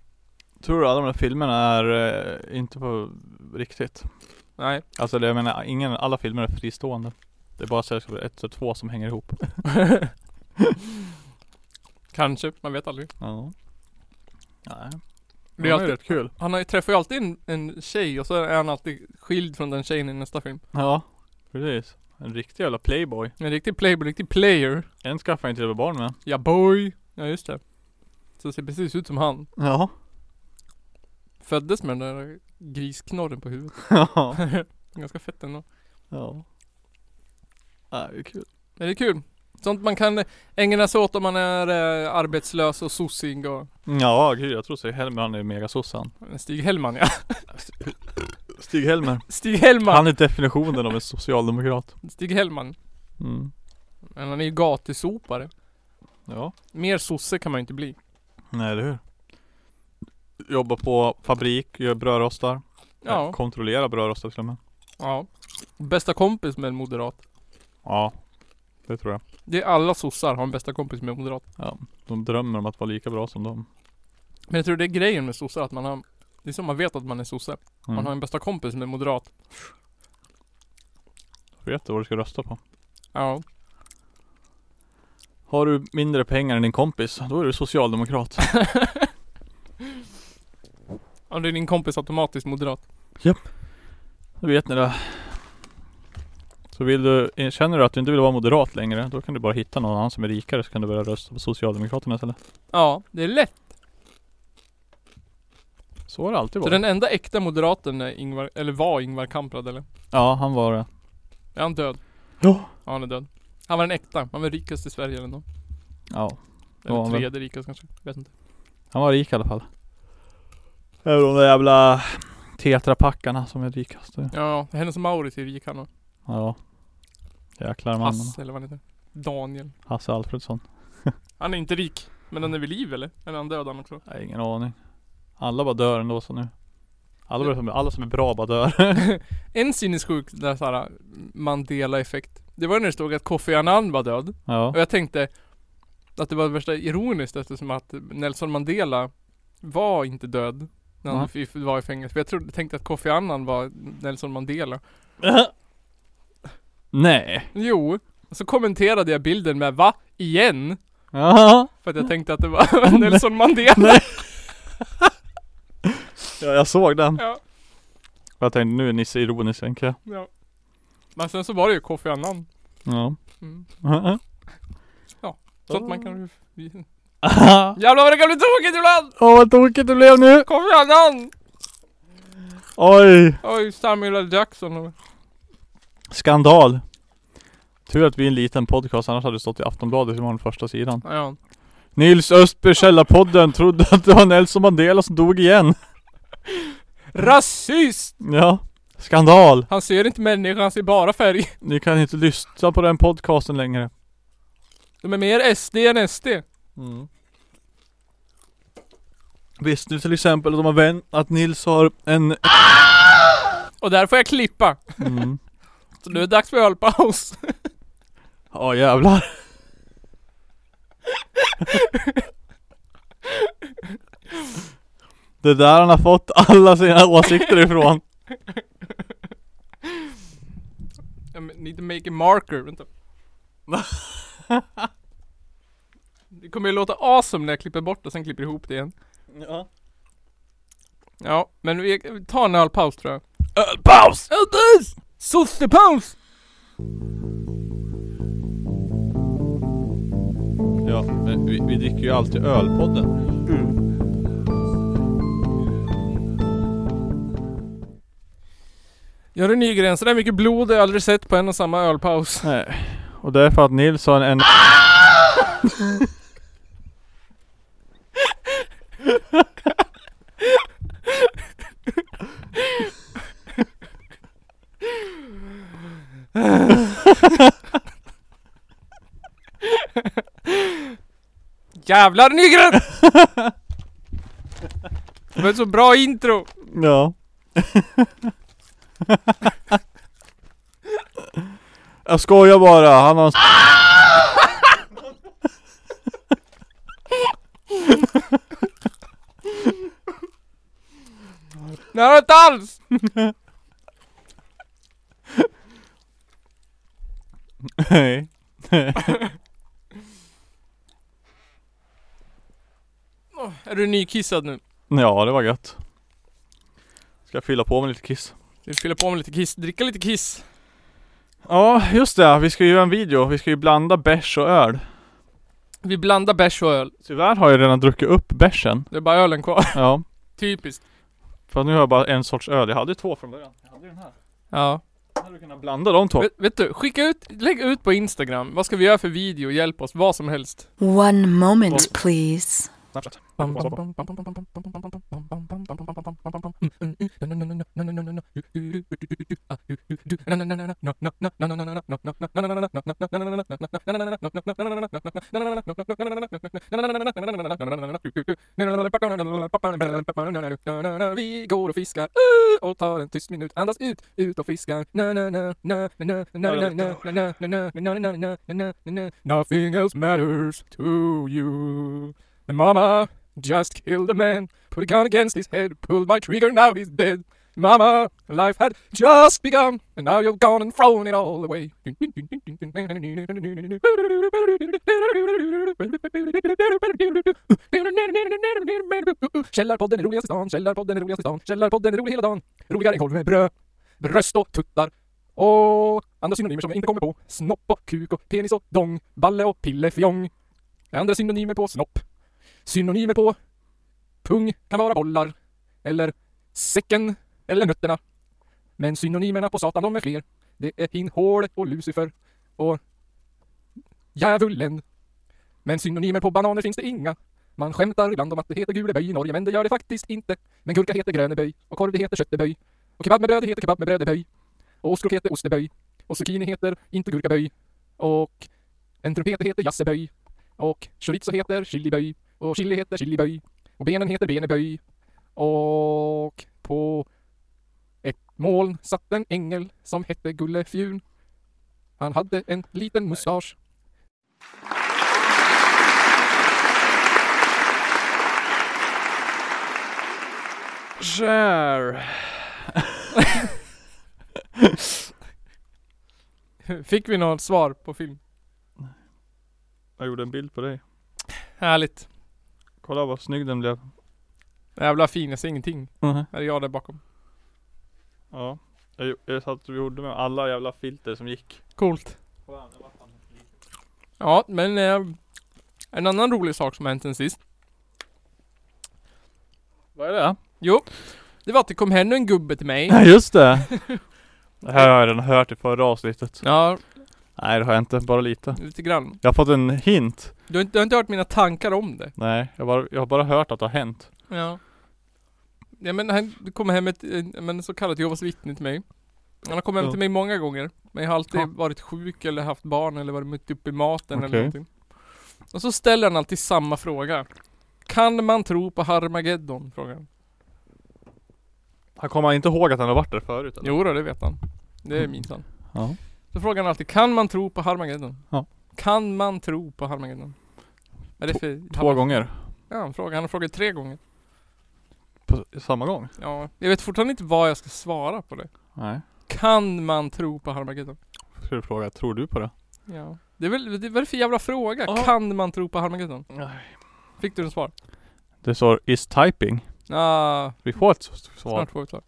S2: Tror du alla de där filmerna är eh, inte på riktigt?
S1: Nej.
S2: Alltså det, jag menar, ingen, alla filmer är fristående. Det är bara Sällskap 1 och 2 som hänger ihop.
S1: Kanske, man vet aldrig.
S2: Ja. Nej.
S1: Det är
S2: Ja,
S1: alltid-
S2: rätt kul.
S1: Han har, ju- träffar ju alltid en, en tjej och så är han alltid skild från den tjejen i nästa film.
S2: Ja, precis. En riktig jävla playboy.
S1: En riktig playboy, riktig player.
S2: En skaffar inte till och med barn med.
S1: Ja boy. Ja just det. Så ser precis ut som han.
S2: <laughs> Ja.
S1: Föddes med den där grisknorren på huvudet.
S2: ja.
S1: <laughs> Ganska fett ändå.
S2: Ja. Nej, det är kul.
S1: Men det är kul. Sånt man kan ägna sig åt om man är eh, arbetslös och sossig och
S2: Ja, gud jag tror så. Helmer han är megasossan.
S1: Stig Hellman ja. <laughs>
S2: Stig Helmer.
S1: Stig Hellman!
S2: <laughs> Han är definitionen av en socialdemokrat.
S1: Stig Hellman.
S2: Mm.
S1: Men han är ju gatusopare.
S2: Ja.
S1: Mer sosse kan man ju inte bli.
S2: Nej, eller hur? Jobbar på fabrik, gör brödrostar. Eh,
S1: Ja.
S2: Kontrollerar brödrostar till och med.
S1: Ja. Bästa kompis med en moderat.
S2: Ja. Det tror jag.
S1: Det är alla sossar har en bästa kompis med en moderat.
S2: De drömmer om att vara lika bra som dem.
S1: Men jag tror det är grejen med sossar att man har Det är som man vet att man är sosse.
S2: Mm.
S1: Man har en bästa kompis med moderat.
S2: Vet du vad du ska rösta på?
S1: Ja.
S2: Har du mindre pengar än din kompis, då är du socialdemokrat.
S1: Om det är din kompis automatiskt moderat.
S2: Då vet ni det. Så vill du, känner du att du inte vill vara moderat längre, då kan du bara hitta någon annan som är rikare så kan du börja rösta på Socialdemokraterna istället.
S1: Ja, det är lätt.
S2: Så har det alltid
S1: Så
S2: varit.
S1: den enda äkta moderaten är Ingvar, eller var Ingvar Kamprad eller?
S2: Ja, han var det.
S1: Är han död?
S2: Ja.
S1: Ja han är död. Han var den äkta. Han var rikast i Sverige eller nåt.
S2: Ja,
S1: Eller
S2: Ja, han var-
S1: tredje rikast kanske. Vet inte.
S2: han var rik i alla fall. Även de där jävla tetrapackarna som är rikast.
S1: Ja, Hennes Mauritz är rik han och
S2: Ja. Jäklar mannen. Hasse,
S1: Hasse eller vad han heter. Daniel.
S2: Hasse Alfredsson.
S1: Han är inte rik. Men han är vid liv eller? Eller är han död han
S2: <laughs>
S1: också?
S2: Jag har ingen aning. Alla bara dör ändå så nu. Alla, bara- alla som är bra bara dör. <laughs>
S1: En sinnessjuk där såhär Mandela-effekt. Det var när det stod att Kofi Annan var död.
S2: ja.
S1: Och jag tänkte att det var det värsta ironiskt eftersom att Nelson Mandela var inte död när han
S2: Ja.
S1: f- var i fängelse. För jag trodde, tänkte att Kofi Annan var Nelson Mandela.
S2: Nej.
S1: Jo, och så kommenterade jag bilden med va? Igen?
S2: Ja.
S1: För att jag tänkte att det var <laughs> Nelson Mandela.
S2: Ja, jag såg den.
S1: <laughs> Ja,
S2: Jag tänkte nu är Nisse ironisk tänker jag.
S1: ja. Men sen så var det ju Kofi Annan.
S2: Ja.
S1: Mm.
S2: ja.
S1: Sånt man kan... Jävlar vad det kan bli tokigt ibland!
S2: <laughs> Åh vad tokigt det blev nu!
S1: Kofi Annan!
S2: Oj!
S1: Oj, Samuel L. Jackson och...
S2: Skandal! Tur att vi är en liten podcast annars hade det stått i Aftonbladet som var den första sidan.
S1: Ja.
S2: Nils Östberg Källarpodden trodde att det var Nelson Mandela som dog igen.
S1: Rasist!
S2: Ja. Skandal!
S1: Han ser inte människan, han ser bara färg.
S2: Ni kan inte lyssna på den podcasten längre.
S1: De är mer SD än SD. Mm.
S2: Visste du till exempel att de har vänt att Nils har
S1: <laughs>
S2: en...
S1: Och där får jag klippa.
S2: Mm.
S1: Så nu är det dags för ölpaus.
S2: Ja jävlar. Det där han har fått alla sina åsikter ifrån.
S1: I need to make a marker. <laughs> Vänta. Det kommer ju låta awesome när jag klipper bort och sen klipper ihop det igen.
S2: Ja.
S1: Ja, men vi vi tar en ölpaus tror jag.
S2: Paus!
S1: Ölpaus! Sossepaus!
S2: Ja, men vi, vi dricker ju alltid ölpodden.
S1: Mm. Gör en ny gräns. Det där är mycket blod jag aldrig sett på en och samma ölpaus.
S2: Nej. Och det är för att Nils har en...
S1: <laughs> Jävlar Nygren! <laughs> Det var ett så bra intro!
S2: Ja. Jag skojar bara, han har en...
S1: Nej det har inte alls!
S2: <laughs> Nej.
S1: Åh, Är du nykissad nu?
S2: Ja, det var gött. Ska jag fylla på med lite kiss.
S1: Ska vi fylla på med lite kiss? Dricka lite kiss?
S2: Ja, just det. Vi ska ju göra en video. Vi ska ju blanda bärs och öl.
S1: Vi blandar bärs och öl.
S2: Tyvärr har jag redan druckit upp bärsen.
S1: Det är bara ölen kvar. <laughs>
S2: Ja.
S1: Typiskt.
S2: För nu har jag bara en sorts öl. Jag hade ju två från början. Jag hade ju den här.
S1: Ja.
S2: Jag hade kunnat blanda de två.
S1: Vet, vet du, skicka ut, lägg ut på Instagram. Vad ska vi göra för video? Hjälp oss, vad som helst.
S3: One moment, please.
S2: Snapchat.
S1: Vi går och fiskar och tar en tyst minut. Andas ut, ut och fiskar. Nothing else matters to you. And mama just killed a man, put a gun against his head, pulled my trigger, now he's dead. Mama, life had just begun, and now you've gone and thrown it all away. Källarpodden är roligast i stan, Källarpodden är roligast i stan, Källarpodden är rolig hela dagen. Roligare än korv med bröd, bröst och tuttar. Och andra synonymer som jag inte kommer på. Snopp och kuk och penis och dong, balle och pillefjong. Andra synonymer på snopp. Synonymer på pung kan vara bollar eller säcken eller nötterna. Men synonymerna på satan de är fler. Det är pinnhål och Lucifer och djävulen. Men synonymer på bananer finns det inga. Man skämtar ibland om att det heter guleböj i Norge, men det gör det faktiskt inte. Men gurka heter gröneböj och korv det heter kötteböj. Och kebab med bröd det heter kebab med brödeböj. Och ostkrok heter osteböj. Och zucchini heter inte gurkaböj. Och en trumpet det heter jasseböj. Och chorizo heter chiliböj. Och chili heter chiliböj. Och benen heter beneböj. Och på ett moln satt en ängel som hette Gullefjun. Han hade en liten mustasch.
S2: Share.
S1: <laughs> Fick vi något svar på film?
S2: Jag gjorde en bild på dig.
S1: Härligt.
S2: Kolla vad snygg den blev.
S1: Jävla fin, jag ser ingenting.
S2: Mhm.
S1: Här är jag där bakom.
S2: Ja. Jag, gjo- jag satt och gjorde med alla jävla filter som gick.
S1: Coolt. Ja, men eh, en annan rolig sak som hänt sen sist.
S2: Vad är det?
S1: Jo, det var att det kom hem en gubbe till
S2: <laughs>
S1: mig.
S2: Nej just det! Det här har jag redan hört i förra avsnittet.
S1: Ja,
S2: Nej det har jag inte, bara lite.
S1: lite grann.
S2: Jag har fått en hint.
S1: Du har inte, du har inte hört mina tankar om det.
S2: Nej, jag, bara, jag har bara hört att det har hänt.
S1: Ja. Ja men han det kom hem ett, eh, men så kallat Jehovas vittne till mig. Han har kommit hem
S2: Ja.
S1: till mig många gånger. Men jag har alltid
S2: Ja.
S1: varit sjuk eller haft barn eller varit mitt uppe i maten eller
S2: Okej.
S1: någonting. Och så ställer han alltid samma fråga. Kan man tro på Harmageddon? Frågar han.
S2: Han kommer inte ihåg att han har varit där förut eller? Mm.
S1: Jo då, det vet han. Det är minsann.
S2: Ja.
S1: Så frågar han alltid, kan man tro på Harmageddon?
S2: Ja.
S1: Kan man tro på Harmageddon? Är det för,
S2: Två gånger.
S1: Ja, han, frågar, han har frågat tre gånger.
S2: På s- samma gång?
S1: Ja, jag vet fortfarande inte vad jag ska svara på det.
S2: Nej.
S1: Kan man tro på Harmageddon?
S2: Ska du fråga, tror du på det?
S1: Ja. Det är väl, det, vad är det för jävla fråga?
S2: Ja.
S1: Kan man tro på Harmageddon?
S2: Nej.
S1: Fick du en svar?
S2: Det står is typing.
S1: Ah,
S2: Vi får ett s- svar.
S1: snart får vi ett svar.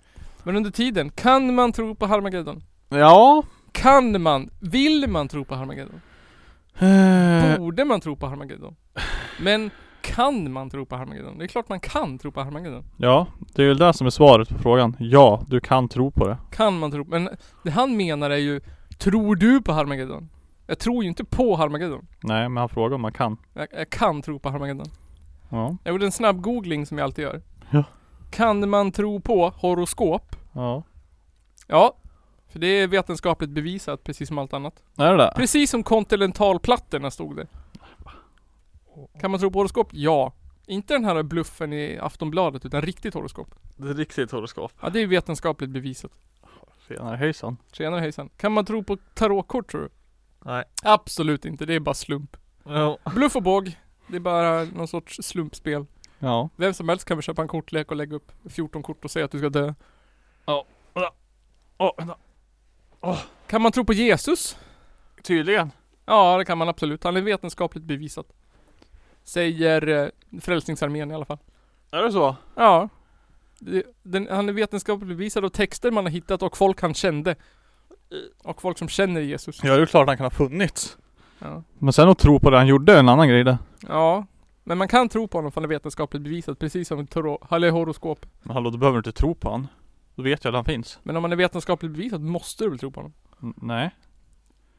S1: Men under tiden, kan man tro på Harmageddon?
S2: Ja.
S1: Kan man? Vill man tro på Harmageddon?
S2: Eh,
S1: Borde man tro på Harmageddon? Men Kan man tro på Harmageddon? Det är klart man kan tro på Harmageddon.
S2: Ja, det är ju det som är svaret på frågan. Ja, du kan tro på det.
S1: Kan man tro Men det han menar är ju Tror du på Harmageddon? Jag tror ju inte på Harmageddon.
S2: Nej, men han frågar om man kan.
S1: Jag, jag kan tro på Harmageddon.
S2: Ja,
S1: Jag gjorde en snabb googling som jag alltid gör.
S2: Ja.
S1: Kan man tro på horoskop?
S2: ja.
S1: Ja. För det är vetenskapligt bevisat, precis som allt annat.
S2: Är det det?
S1: Precis som kontinentalplattorna stod det. Kan man tro på horoskop? Ja. Inte den här bluffen i Aftonbladet, utan riktigt horoskop.
S2: Det är riktigt horoskop.
S1: Ja, det är vetenskapligt bevisat.
S2: Senare, höjsan.
S1: Tjenare hejsan. Kan man tro på tarotkort tror du?
S2: Nej.
S1: Absolut inte, det är bara slump.
S2: Ja.
S1: Bluff och båg. Det är bara någon sorts slumpspel.
S2: Ja.
S1: Vem som helst kan väl köpa en kortlek och lägga upp 14 kort och säga att du ska dö.
S2: Åh, vänta.
S1: Kan man tro på Jesus?
S2: Tydligen.
S1: Ja, det kan man absolut. Han är vetenskapligt bevisat. Säger eh, Frälsningsarmén i alla fall.
S2: Är det så?
S1: Ja. Det, den, han är vetenskapligt bevisad av texter man har hittat och folk han kände. Och folk som känner Jesus.
S2: Ja, det är klart han kan ha funnits.
S1: Ja.
S2: Men sen att tro på det han gjorde är en annan grej det.
S1: ja. Men man kan tro på honom för han är vetenskapligt bevisat, precis som toro, eller horoskop.
S2: Men hallå, då behöver du inte tro på han. Då vet jag att han finns.
S1: Men om han är vetenskapligt bevisad måste du väl tro på honom?
S2: N- nej.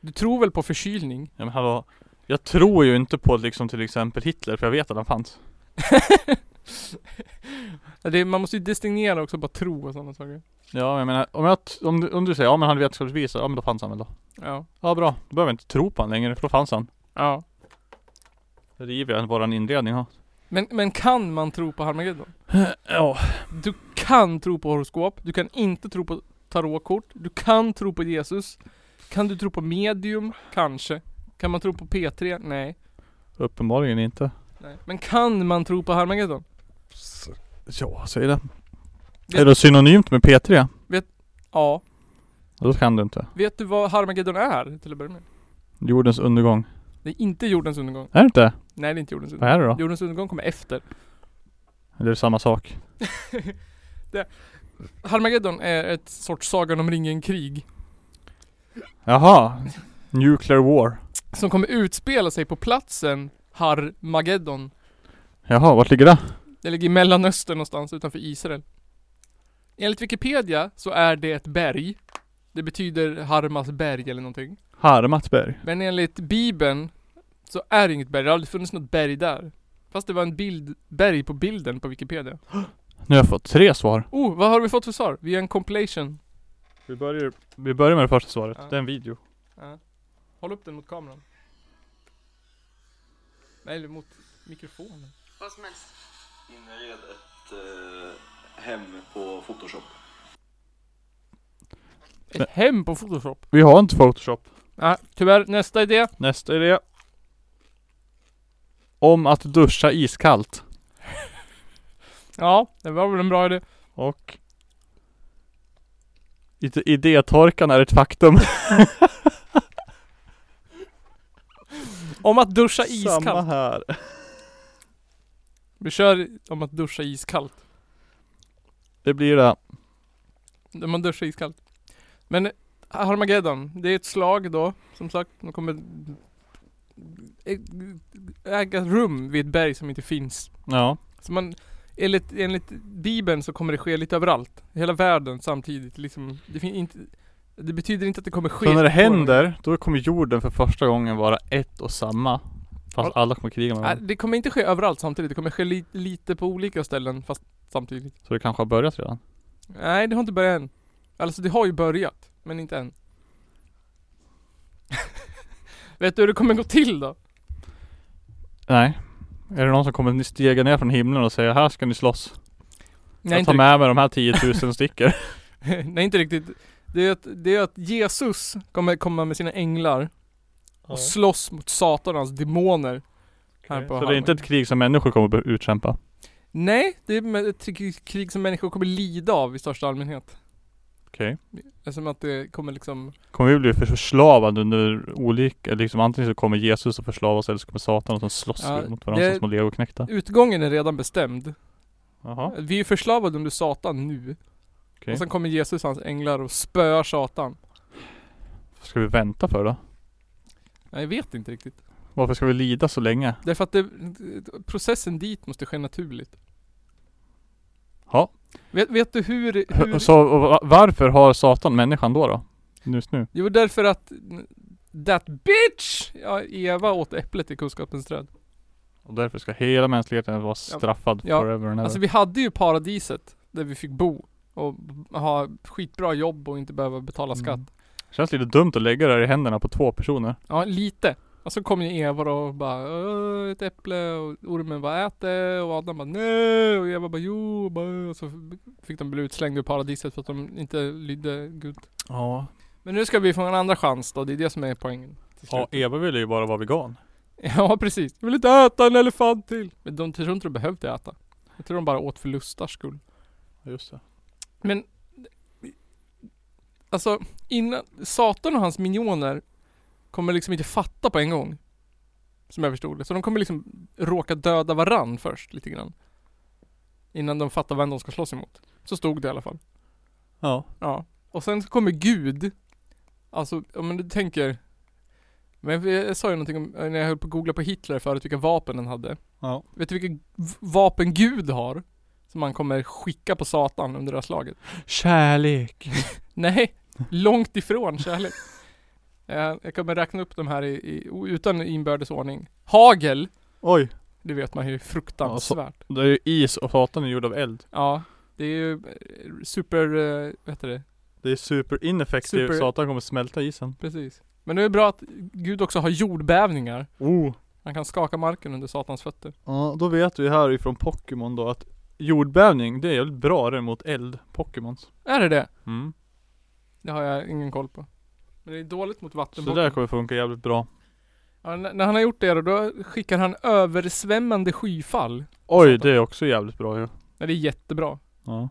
S1: Du tror väl på förkylning? <laughs>
S2: Ja, men hallå. Jag tror ju inte på liksom till exempel Hitler för jag vet att han fanns.
S1: Ja, Det, man måste ju distingera också, bara tro och sådana saker.
S2: Ja, jag menar om, jag, t- om, du, om du säger ja men han hade vetenskapsbevis, ja men då fanns han väl då.
S1: Ja.
S2: Ja bra, då behöver jag inte tro på han längre för då fanns han.
S1: Ja.
S2: Då river jag våran inredning ha.
S1: Men, men kan man tro på Harmageddon?
S2: <laughs> Ja.
S1: Du kan tro på horoskop, du kan inte tro på tarotkort, du kan tro på Jesus. Kan du tro på medium? Kanske. Kan man tro på P3? Nej.
S2: Uppenbarligen inte.
S1: Nej. Men kan man tro på Harmageddon?
S2: Ja, säg det.
S1: Vet-
S2: Är det synonymt med P3?
S1: Ja.
S2: Ja, Då kan du inte.
S1: Vet du vad Harmageddon är till att börja med?
S2: Jordens undergång.
S1: Det är inte jordens undergång.
S2: Är det inte?
S1: Nej det är inte jordens
S2: Vad
S1: undergång.
S2: är det då?
S1: Jordens undergång kommer efter.
S2: Eller är det samma sak?
S1: Harmageddon är ett sorts Sagan om ringen-krig.
S2: Jaha. Nuclear war.
S1: Som kommer utspela sig på platsen Harmageddon.
S2: Jaha, vart ligger det?
S1: Det ligger i Mellanöstern någonstans utanför Israel. Enligt Wikipedia så är det ett berg. Det betyder Harmas berg eller någonting.
S2: Harmatsberg.
S1: Men enligt Bibeln så är det inget berg. Det har aldrig funnits något berg där. Fast det var en bild, berg på bilden på Wikipedia.
S2: Nu har jag fått tre svar.
S1: Oh, vad har vi fått för svar? Vi gör en compilation.
S2: Vi börjar, vi börjar med det första svaret.
S1: Ja.
S2: Det är en video.
S1: Ja. Håll upp den mot kameran. Nej, eller mot mikrofonen.
S4: Vad som helst.
S5: inred ett eh, hem på Photoshop.
S1: Ett hem på Photoshop.
S2: Vi har inte Photoshop.
S1: Nej, tyvärr. Nästa idé.
S2: Nästa idé. Om att duscha iskallt.
S1: Ja, det var väl en bra idé.
S2: Och... Id- Idétorkan är ett faktum.
S1: Om att duscha
S2: <laughs>
S1: iskallt.
S2: Samma här.
S1: Vi kör om att duscha iskallt.
S2: Det blir det.
S1: Om Man duschar iskallt. Men Harmageddon, det är ett slag då. Som sagt, de kommer ä- äga rum vid ett berg som inte finns.
S2: Ja.
S1: Så man, enligt, enligt Bibeln så kommer det ske lite överallt. I hela världen samtidigt. Liksom, det, fin- inte, det betyder inte att det kommer ske.
S2: Så när det
S1: på någon-
S2: händer, då kommer jorden för första gången vara ett och samma. Fast alla kommer kriga med
S1: Nej,
S2: varandra.
S1: det kommer inte ske överallt samtidigt. Det kommer ske li, lite på olika ställen fast samtidigt.
S2: Så det kanske har börjat redan.
S1: Nej, det har inte börjat än. Alltså det har ju börjat, men inte än. <laughs> Vet du hur det kommer gå till då?
S2: Nej. Är det någon som kommer stega ner från himlen och säga här ska ni slåss?
S1: Nej,
S2: jag tar
S1: inte,
S2: med mig de här 10
S1: <laughs>
S2: 000 sticker.
S1: rikt- Nej inte riktigt. Det är, att, det är att Jesus kommer komma med sina änglar och slåss mot Satanans demoner. Här på
S2: Så det är inte
S1: Harmony.
S2: ett krig som människor kommer att be- utkämpa.
S1: Nej, det är med- ett krig- krig som människor kommer lida av i största allmänhet.
S2: Okej.
S1: Eftersom att det kommer liksom,
S2: Kommer vi bli för- förslavade under olika, liksom antingen så kommer Jesus att förslava oss eller så kommer Satan och så slåss
S1: Ja,
S2: vi mot varandra
S1: det-
S2: som små legoknektar.
S1: utgången är redan bestämd.
S2: Jaha,
S1: Vi är förslavade under Satan nu.
S2: okej.
S1: Och sen kommer Jesus och hans änglar och spöar Satan.
S2: Vad ska vi vänta för då?
S1: Nej, Jag vet inte riktigt.
S2: Varför ska vi lida så länge?
S1: Därför att det, processen dit måste ske naturligt.
S2: Ja.
S1: Vet, vet du hur... hur
S2: Så och va- varför har Satan människan då då? Just nu?
S1: Jo, därför att that bitch! Ja, Eva åt äpplet i kunskapens träd.
S2: Och därför ska hela mänskligheten vara straffad
S1: Ja.
S2: forever and ever.
S1: Alltså vi hade ju paradiset där vi fick bo och ha skitbra jobb och inte behöva betala skatt.
S2: Mm. Känns lite dumt att lägga det här i händerna på två personer.
S1: Ja, lite. Och så kom ju Eva då och bara "Åh, ett äpple och ormen bara ät det och Adam bara nej och Eva bara jo och, bara, och så fick de bli utslängda ur paradiset för att de inte lydde Gud.
S2: Ja.
S1: Men nu ska vi få en andra chans då, det är det som är poängen. till
S2: Ja,
S1: slut.
S2: Eva ville ju bara vara vegan.
S1: <laughs> ja precis. Jag vill inte äta en elefant till. Men de tror inte de behövde äta. Jag tror de bara åt för lustars skull.
S2: Just det.
S1: Men Alltså innan Satan och hans minioner Kommer liksom inte fatta på en gång Som jag förstod det, så de kommer liksom Råka döda varann först lite grann Innan de fattar vem de ska slåss emot Så stod det i alla fall
S2: Ja.
S1: Ja Och sen så kommer Gud Alltså, om du tänker Men jag jag sa ju någonting om, när jag höll på att googla på Hitler förut vilka vapen han hade
S2: Ja.
S1: Vet du vilka v- vapen Gud har? Som han kommer skicka på Satan under det här slaget
S2: Kärlek.
S1: <laughs> Nej, långt ifrån kärlek. Eh, Jag kommer räkna upp de här i, i, utan inbördes ordning. Hagel,
S2: Oj.
S1: det vet man ju är fruktansvärt.
S2: Det är ju is och Satan är gjord av eld.
S1: Ja, det är ju eh, super, eh, vad heter det,
S2: Det är super ineffektivt.
S1: Super-
S2: Satan kommer smälta isen.
S1: precis. Men det är bra att Gud också har jordbävningar.
S2: Oh.
S1: Han kan skaka marken under Satans fötter.
S2: Ja, då vet vi här ifrån Pokémon då att jordbävning, det är jävligt bra det mot eld. Pokémons.
S1: Är det det?
S2: Mm.
S1: Det har jag ingen koll på. Men det är dåligt mot
S2: Så
S1: vatten.
S2: det där kommer funka jävligt bra.
S1: ja, n- när han har gjort det då, då skickar han översvämmande skyfall.
S2: Oj,
S1: Satan.
S2: det är också jävligt bra ju.
S1: Nej, det är jättebra.
S2: Ja.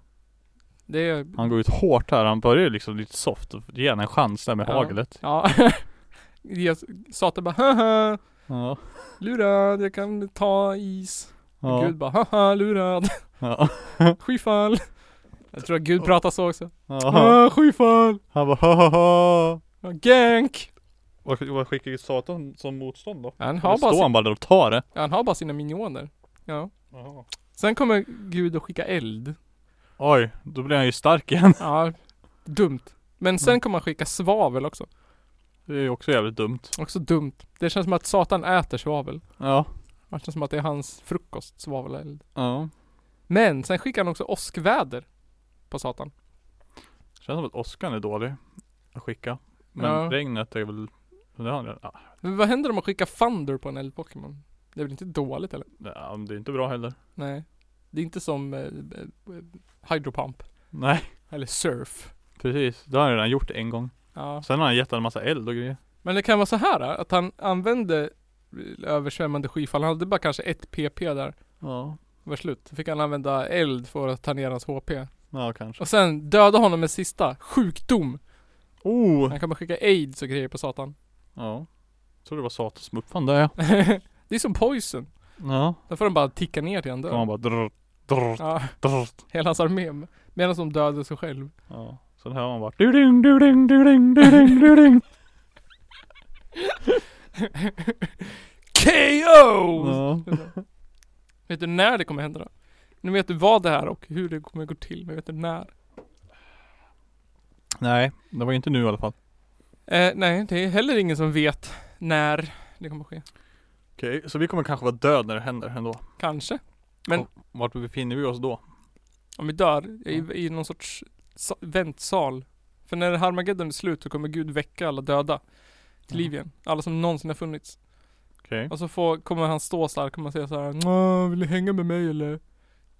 S1: Det är,
S2: Han går ut hårt här. Han börjar ju liksom lite soft. Ge henne en chans där med
S1: Ja.
S2: haglet.
S1: ja. <laughs> Jesus- Satan bara haha.
S2: Ja.
S1: Lurad, jag kan ta is.
S2: Ja.
S1: Gud bara haha lurad, <laughs>
S2: Ja.
S1: skyfall. Jag tror att Gud pratar så också.
S2: ja.
S1: Ah, skyfall,
S2: Han bara ha ha ha.
S1: Ah, gank.
S2: Vad, vad skickar ju Satan som motstånd då?
S1: Han
S2: Eller
S1: har, bara
S2: står
S1: sin,
S2: han bara där och tar det?
S1: han har bara sina minioner. Ja. Sen kommer Gud att skicka eld.
S2: Oj, då blir han ju stark igen. <laughs>
S1: Ja, dumt. Men sen kommer han skicka svavel också.
S2: Det är ju också jävligt dumt.
S1: Också dumt. Det känns som att Satan äter svavel.
S2: Ja.
S1: Det känns som att det är hans frukost, svavel och eld.
S2: Ja.
S1: Men sen skickar han också åskväder på Satan.
S2: Känns som att åskan är dålig att skicka. Men
S1: Ja.
S2: regnet är väl... Det har han redan- ah,
S1: Men vad händer om man skickar Thunder på en eldpokémon? Det är väl inte dåligt eller?
S2: det- ah, det är inte bra heller.
S1: Nej. Det är inte som eh, eh, hydropump.
S2: Nej,
S1: Eller surf.
S2: precis. Det har han redan gjort en gång.
S1: Ja.
S2: Sen har han gett en massa eld och grejer.
S1: Men det kan vara så här eh, att han använde eh, översvämmande skyfall. Han hade bara kanske ett PP där.
S2: Ja.
S1: Det var slut. Då fick han använda eld för att ta ner hans HP.
S2: Ja, kanske.
S1: Och sen döda honom med sista. Sjukdom.
S2: Oh!
S1: Han kommer skicka aids och grejer på satan. <laughs>
S2: Ja. Jag tror det var Satan som uppfann det ja.
S1: det är som poison.
S2: Ja.
S1: Där får de bara ticka ner till han dör.
S2: Kan man bara drr, drr, <laughs>
S1: Ja,
S2: drr.
S1: hela hans armé. Medan de dödar sig själv. <laughs>
S2: Ja. Sen hör man bara du ding du ding du ding du ding du <laughs> ding.
S1: KO!
S2: Ja.
S1: Vet du när det kommer hända då? Nu vet du vad det är och hur det kommer gå till, men vet du när?
S2: Nej, det var inte nu i alla fall.
S1: Eh, nej, det är heller ingen som vet när det kommer ske.
S2: Okej, så vi kommer kanske vara död när det händer ändå.
S1: Kanske. Men-
S2: Och Vart befinner vi oss då?
S1: Om vi dör i, i någon sorts sa- väntsal. För när Harmageddon är slut så kommer Gud väcka alla döda till liv igen. Alla som någonsin har funnits.
S2: Okej.
S1: Och så får, kommer han stå så här, kommer han säga så här "Nå, vill du hänga med mig eller?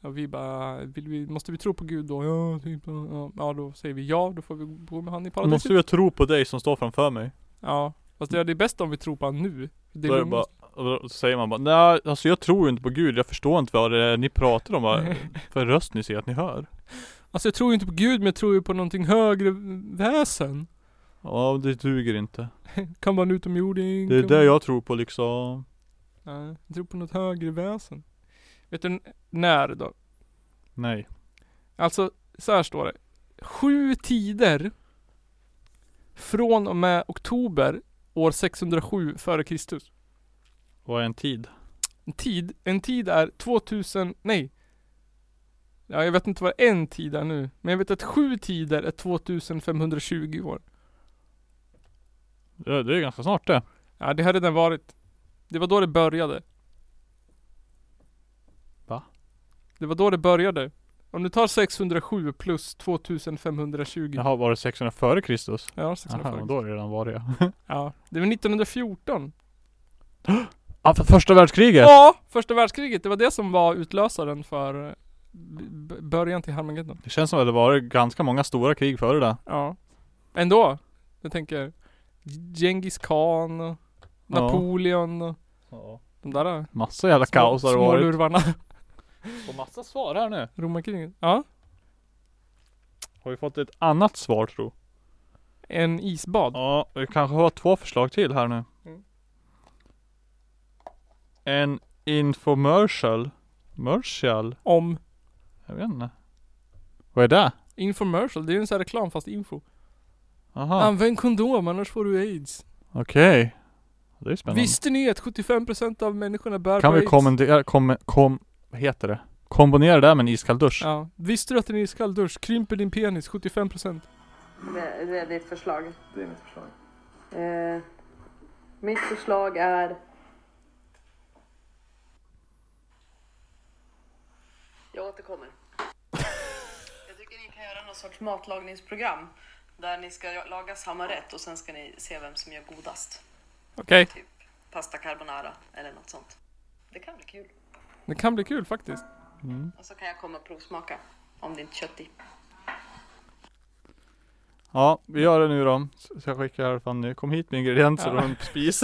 S1: Och vi bara, vill vi, måste vi tro på Gud då? Ja, typ, ja. ja då säger vi ja, då får vi bo med han i paradiset.
S2: Måste jag tro på dig som står framför mig?
S1: Ja, fast det är det bästa om vi tror på honom nu. Det
S2: Då är det bara, och då säger man bara nej alltså jag tror ju inte på gud, jag förstår inte vad det är ni pratar om, <laughs> vad för röst ni ser att ni hör.
S1: Alltså jag tror ju inte på Gud men jag tror ju på någonting högre väsen.
S2: Ja det duger inte.
S1: Kan vara en utomjording.
S2: Det är
S1: kan
S2: det
S1: vara-
S2: jag tror på liksom.
S1: Nej, jag tror på något högre väsen. Vet du n- när då?
S2: Nej.
S1: Alltså, så här står det. Sju tider från och med oktober år 607 före Kristus.
S2: Vad är en tid?
S1: En tid, en tid är 2000, nej. Ja, jag vet inte vad en tid är nu. Men jag vet att sju tider är 2520 år.
S2: Det, det är ganska snart det.
S1: Ja, det har redan varit. Det var då det började.
S2: Va?
S1: Det var då det började. Om du tar 607 plus 2520.
S2: Jaha, var det 600 före Kristus?
S1: Ja,
S2: Jaha,
S1: 640.
S2: då är det redan varit ja. <laughs>
S1: Ja, det var 1914.
S2: Ja, för första världskriget!
S1: Ja, första världskriget. Det var det som var utlösaren för eh, b- b- början till Harmageddon.
S2: Det känns som att det varit ganska många stora krig före det.
S1: Ja. Ändå. Jag tänker Genghis khan och Napoleon och de där eh,
S2: Massa jävla kaos har det varit.
S1: smålurvarna. <laughs>
S2: Får massa svar här nu.
S1: Romarkriget. Ja.
S2: Har vi fått ett annat svar tro?
S1: En isbad.
S2: Ja, vi kanske har två förslag till här nu.
S1: Mm.
S2: En infomercial. Mercial?
S1: Om
S2: Jag vet inte. Vad är det?
S1: infomercial. Det är ju en sån här reklam fast info.
S2: Aha.
S1: Använd kondom annars får du aids.
S2: Okej. Det är spännande.
S1: Visste ni att 75% av människorna bär
S2: Kan
S1: på
S2: vi
S1: aids?
S2: kommendera, kom, kom, vad heter det? Kombinera det med en iskall dusch.
S1: Ja. Visste du att en iskall dusch krymper din penis 75%?
S4: Det, det är ditt förslag.
S5: Det är mitt förslag.
S4: Eh, mitt förslag är... Jag återkommer. Jag tycker ni kan göra någon sorts matlagningsprogram där ni ska laga samma rätt och sen ska ni se vem som gör godast.
S1: Okej.
S4: Typ pasta carbonara eller något sånt. Det kan bli kul.
S1: Det kan bli kul faktiskt.
S4: Och så kan jag komma och provsmaka om det inte är kött i.
S2: Ja, vi gör det nu då. Så jag skickar i alla fall nu. Kom hit med ingredienser
S1: Ja.
S2: och en
S1: <laughs>
S2: spis.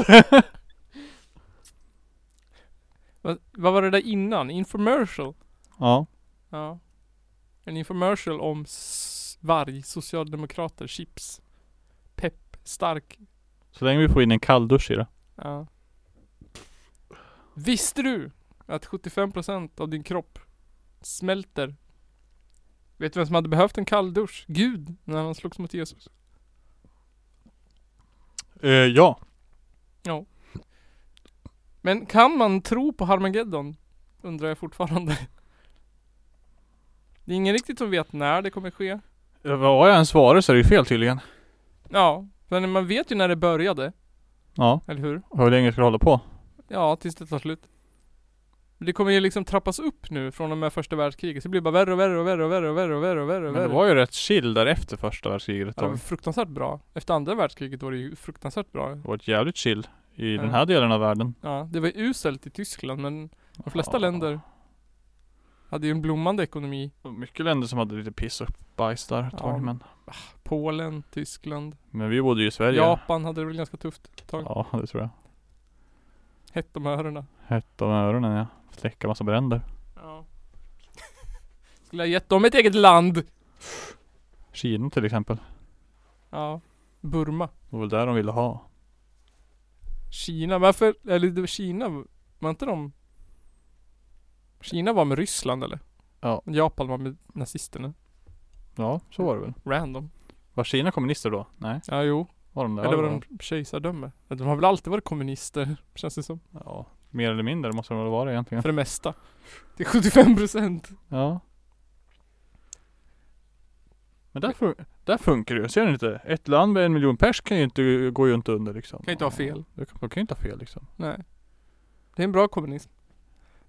S1: Vad, vad var det där innan? Infomercial?
S2: ja.
S1: Ja. En infomercial om s- varg, socialdemokrater, chips, pepp, stark.
S2: Så länge vi får in en kall dusch i det.
S1: Ja. Visste du att 75% av din kropp smälter? Vet du vem som hade behövt en kall dusch? Gud, när han slogs mot Jesus.
S2: Eh, ja.
S1: Men kan man tro på Harmageddon? Undrar jag fortfarande. <laughs> Det är ingen riktigt som vet när det kommer ske.
S2: Eh, Vad jag än svarar så är det ju fel tydligen.
S1: Ja, men man vet ju när det började,
S2: Ja.
S1: eller hur?
S2: Och hur länge ska det hålla på?
S1: Ja, tills det tar slut. Men Det kommer ju liksom trappas upp nu från och med första världskriget. Så det blir bara värre och värre och värre och värre och värre och värre och värre.
S2: Men det var ju rätt chill där efter första världskriget ett
S1: ja, det var
S2: tag.
S1: fruktansvärt bra. Efter andra världskriget var det ju fruktansvärt bra.
S2: Det var ett jävligt chill i
S1: Ja.
S2: den här delen av världen.
S1: Ja, det var ju uselt i Tyskland men de flesta
S2: Ja.
S1: länder hade ju en blommande ekonomi.
S2: Mycket länder som hade lite piss och bajs där ett
S1: Ja.
S2: tag men.
S1: Polen, Tyskland,
S2: Men vi bodde ju i Sverige.
S1: Japan hade det väl ganska tufft ett tag.
S2: Ja, det tror jag.
S1: Hett om öronen.
S2: Hett om öronen ja. Fläckar massa bränder.
S1: Ja. <laughs> Skulle ha gett dem ett eget land.
S2: Kina till exempel.
S1: Ja. Burma.
S2: Det var väl där de ville ha.
S1: Kina, varför, eller det var Kina, var inte de Kina var med Ryssland eller?
S2: Ja.
S1: Japan var med nazisterna.
S2: Ja, så var det väl.
S1: Random.
S2: Var Kina kommunister då? Nej,
S1: Ja jo.
S2: var de det?
S1: eller
S2: Ja,
S1: var
S2: det
S1: de kejsardöme? De har väl alltid varit kommunister, <laughs> känns det som.
S2: de. Ja, mer eller mindre måste de väl vara egentligen.
S1: För det mesta. Det är 75%.
S2: <laughs> Ja. Men där, fun- där funkar det ju. Ser ni inte? Ett land med en miljon pers kan ju inte, går ju inte under liksom.
S1: Kan ju inte ha fel.
S2: De kan, de kan ju inte ha fel liksom.
S1: Nej. Det är en bra kommunism.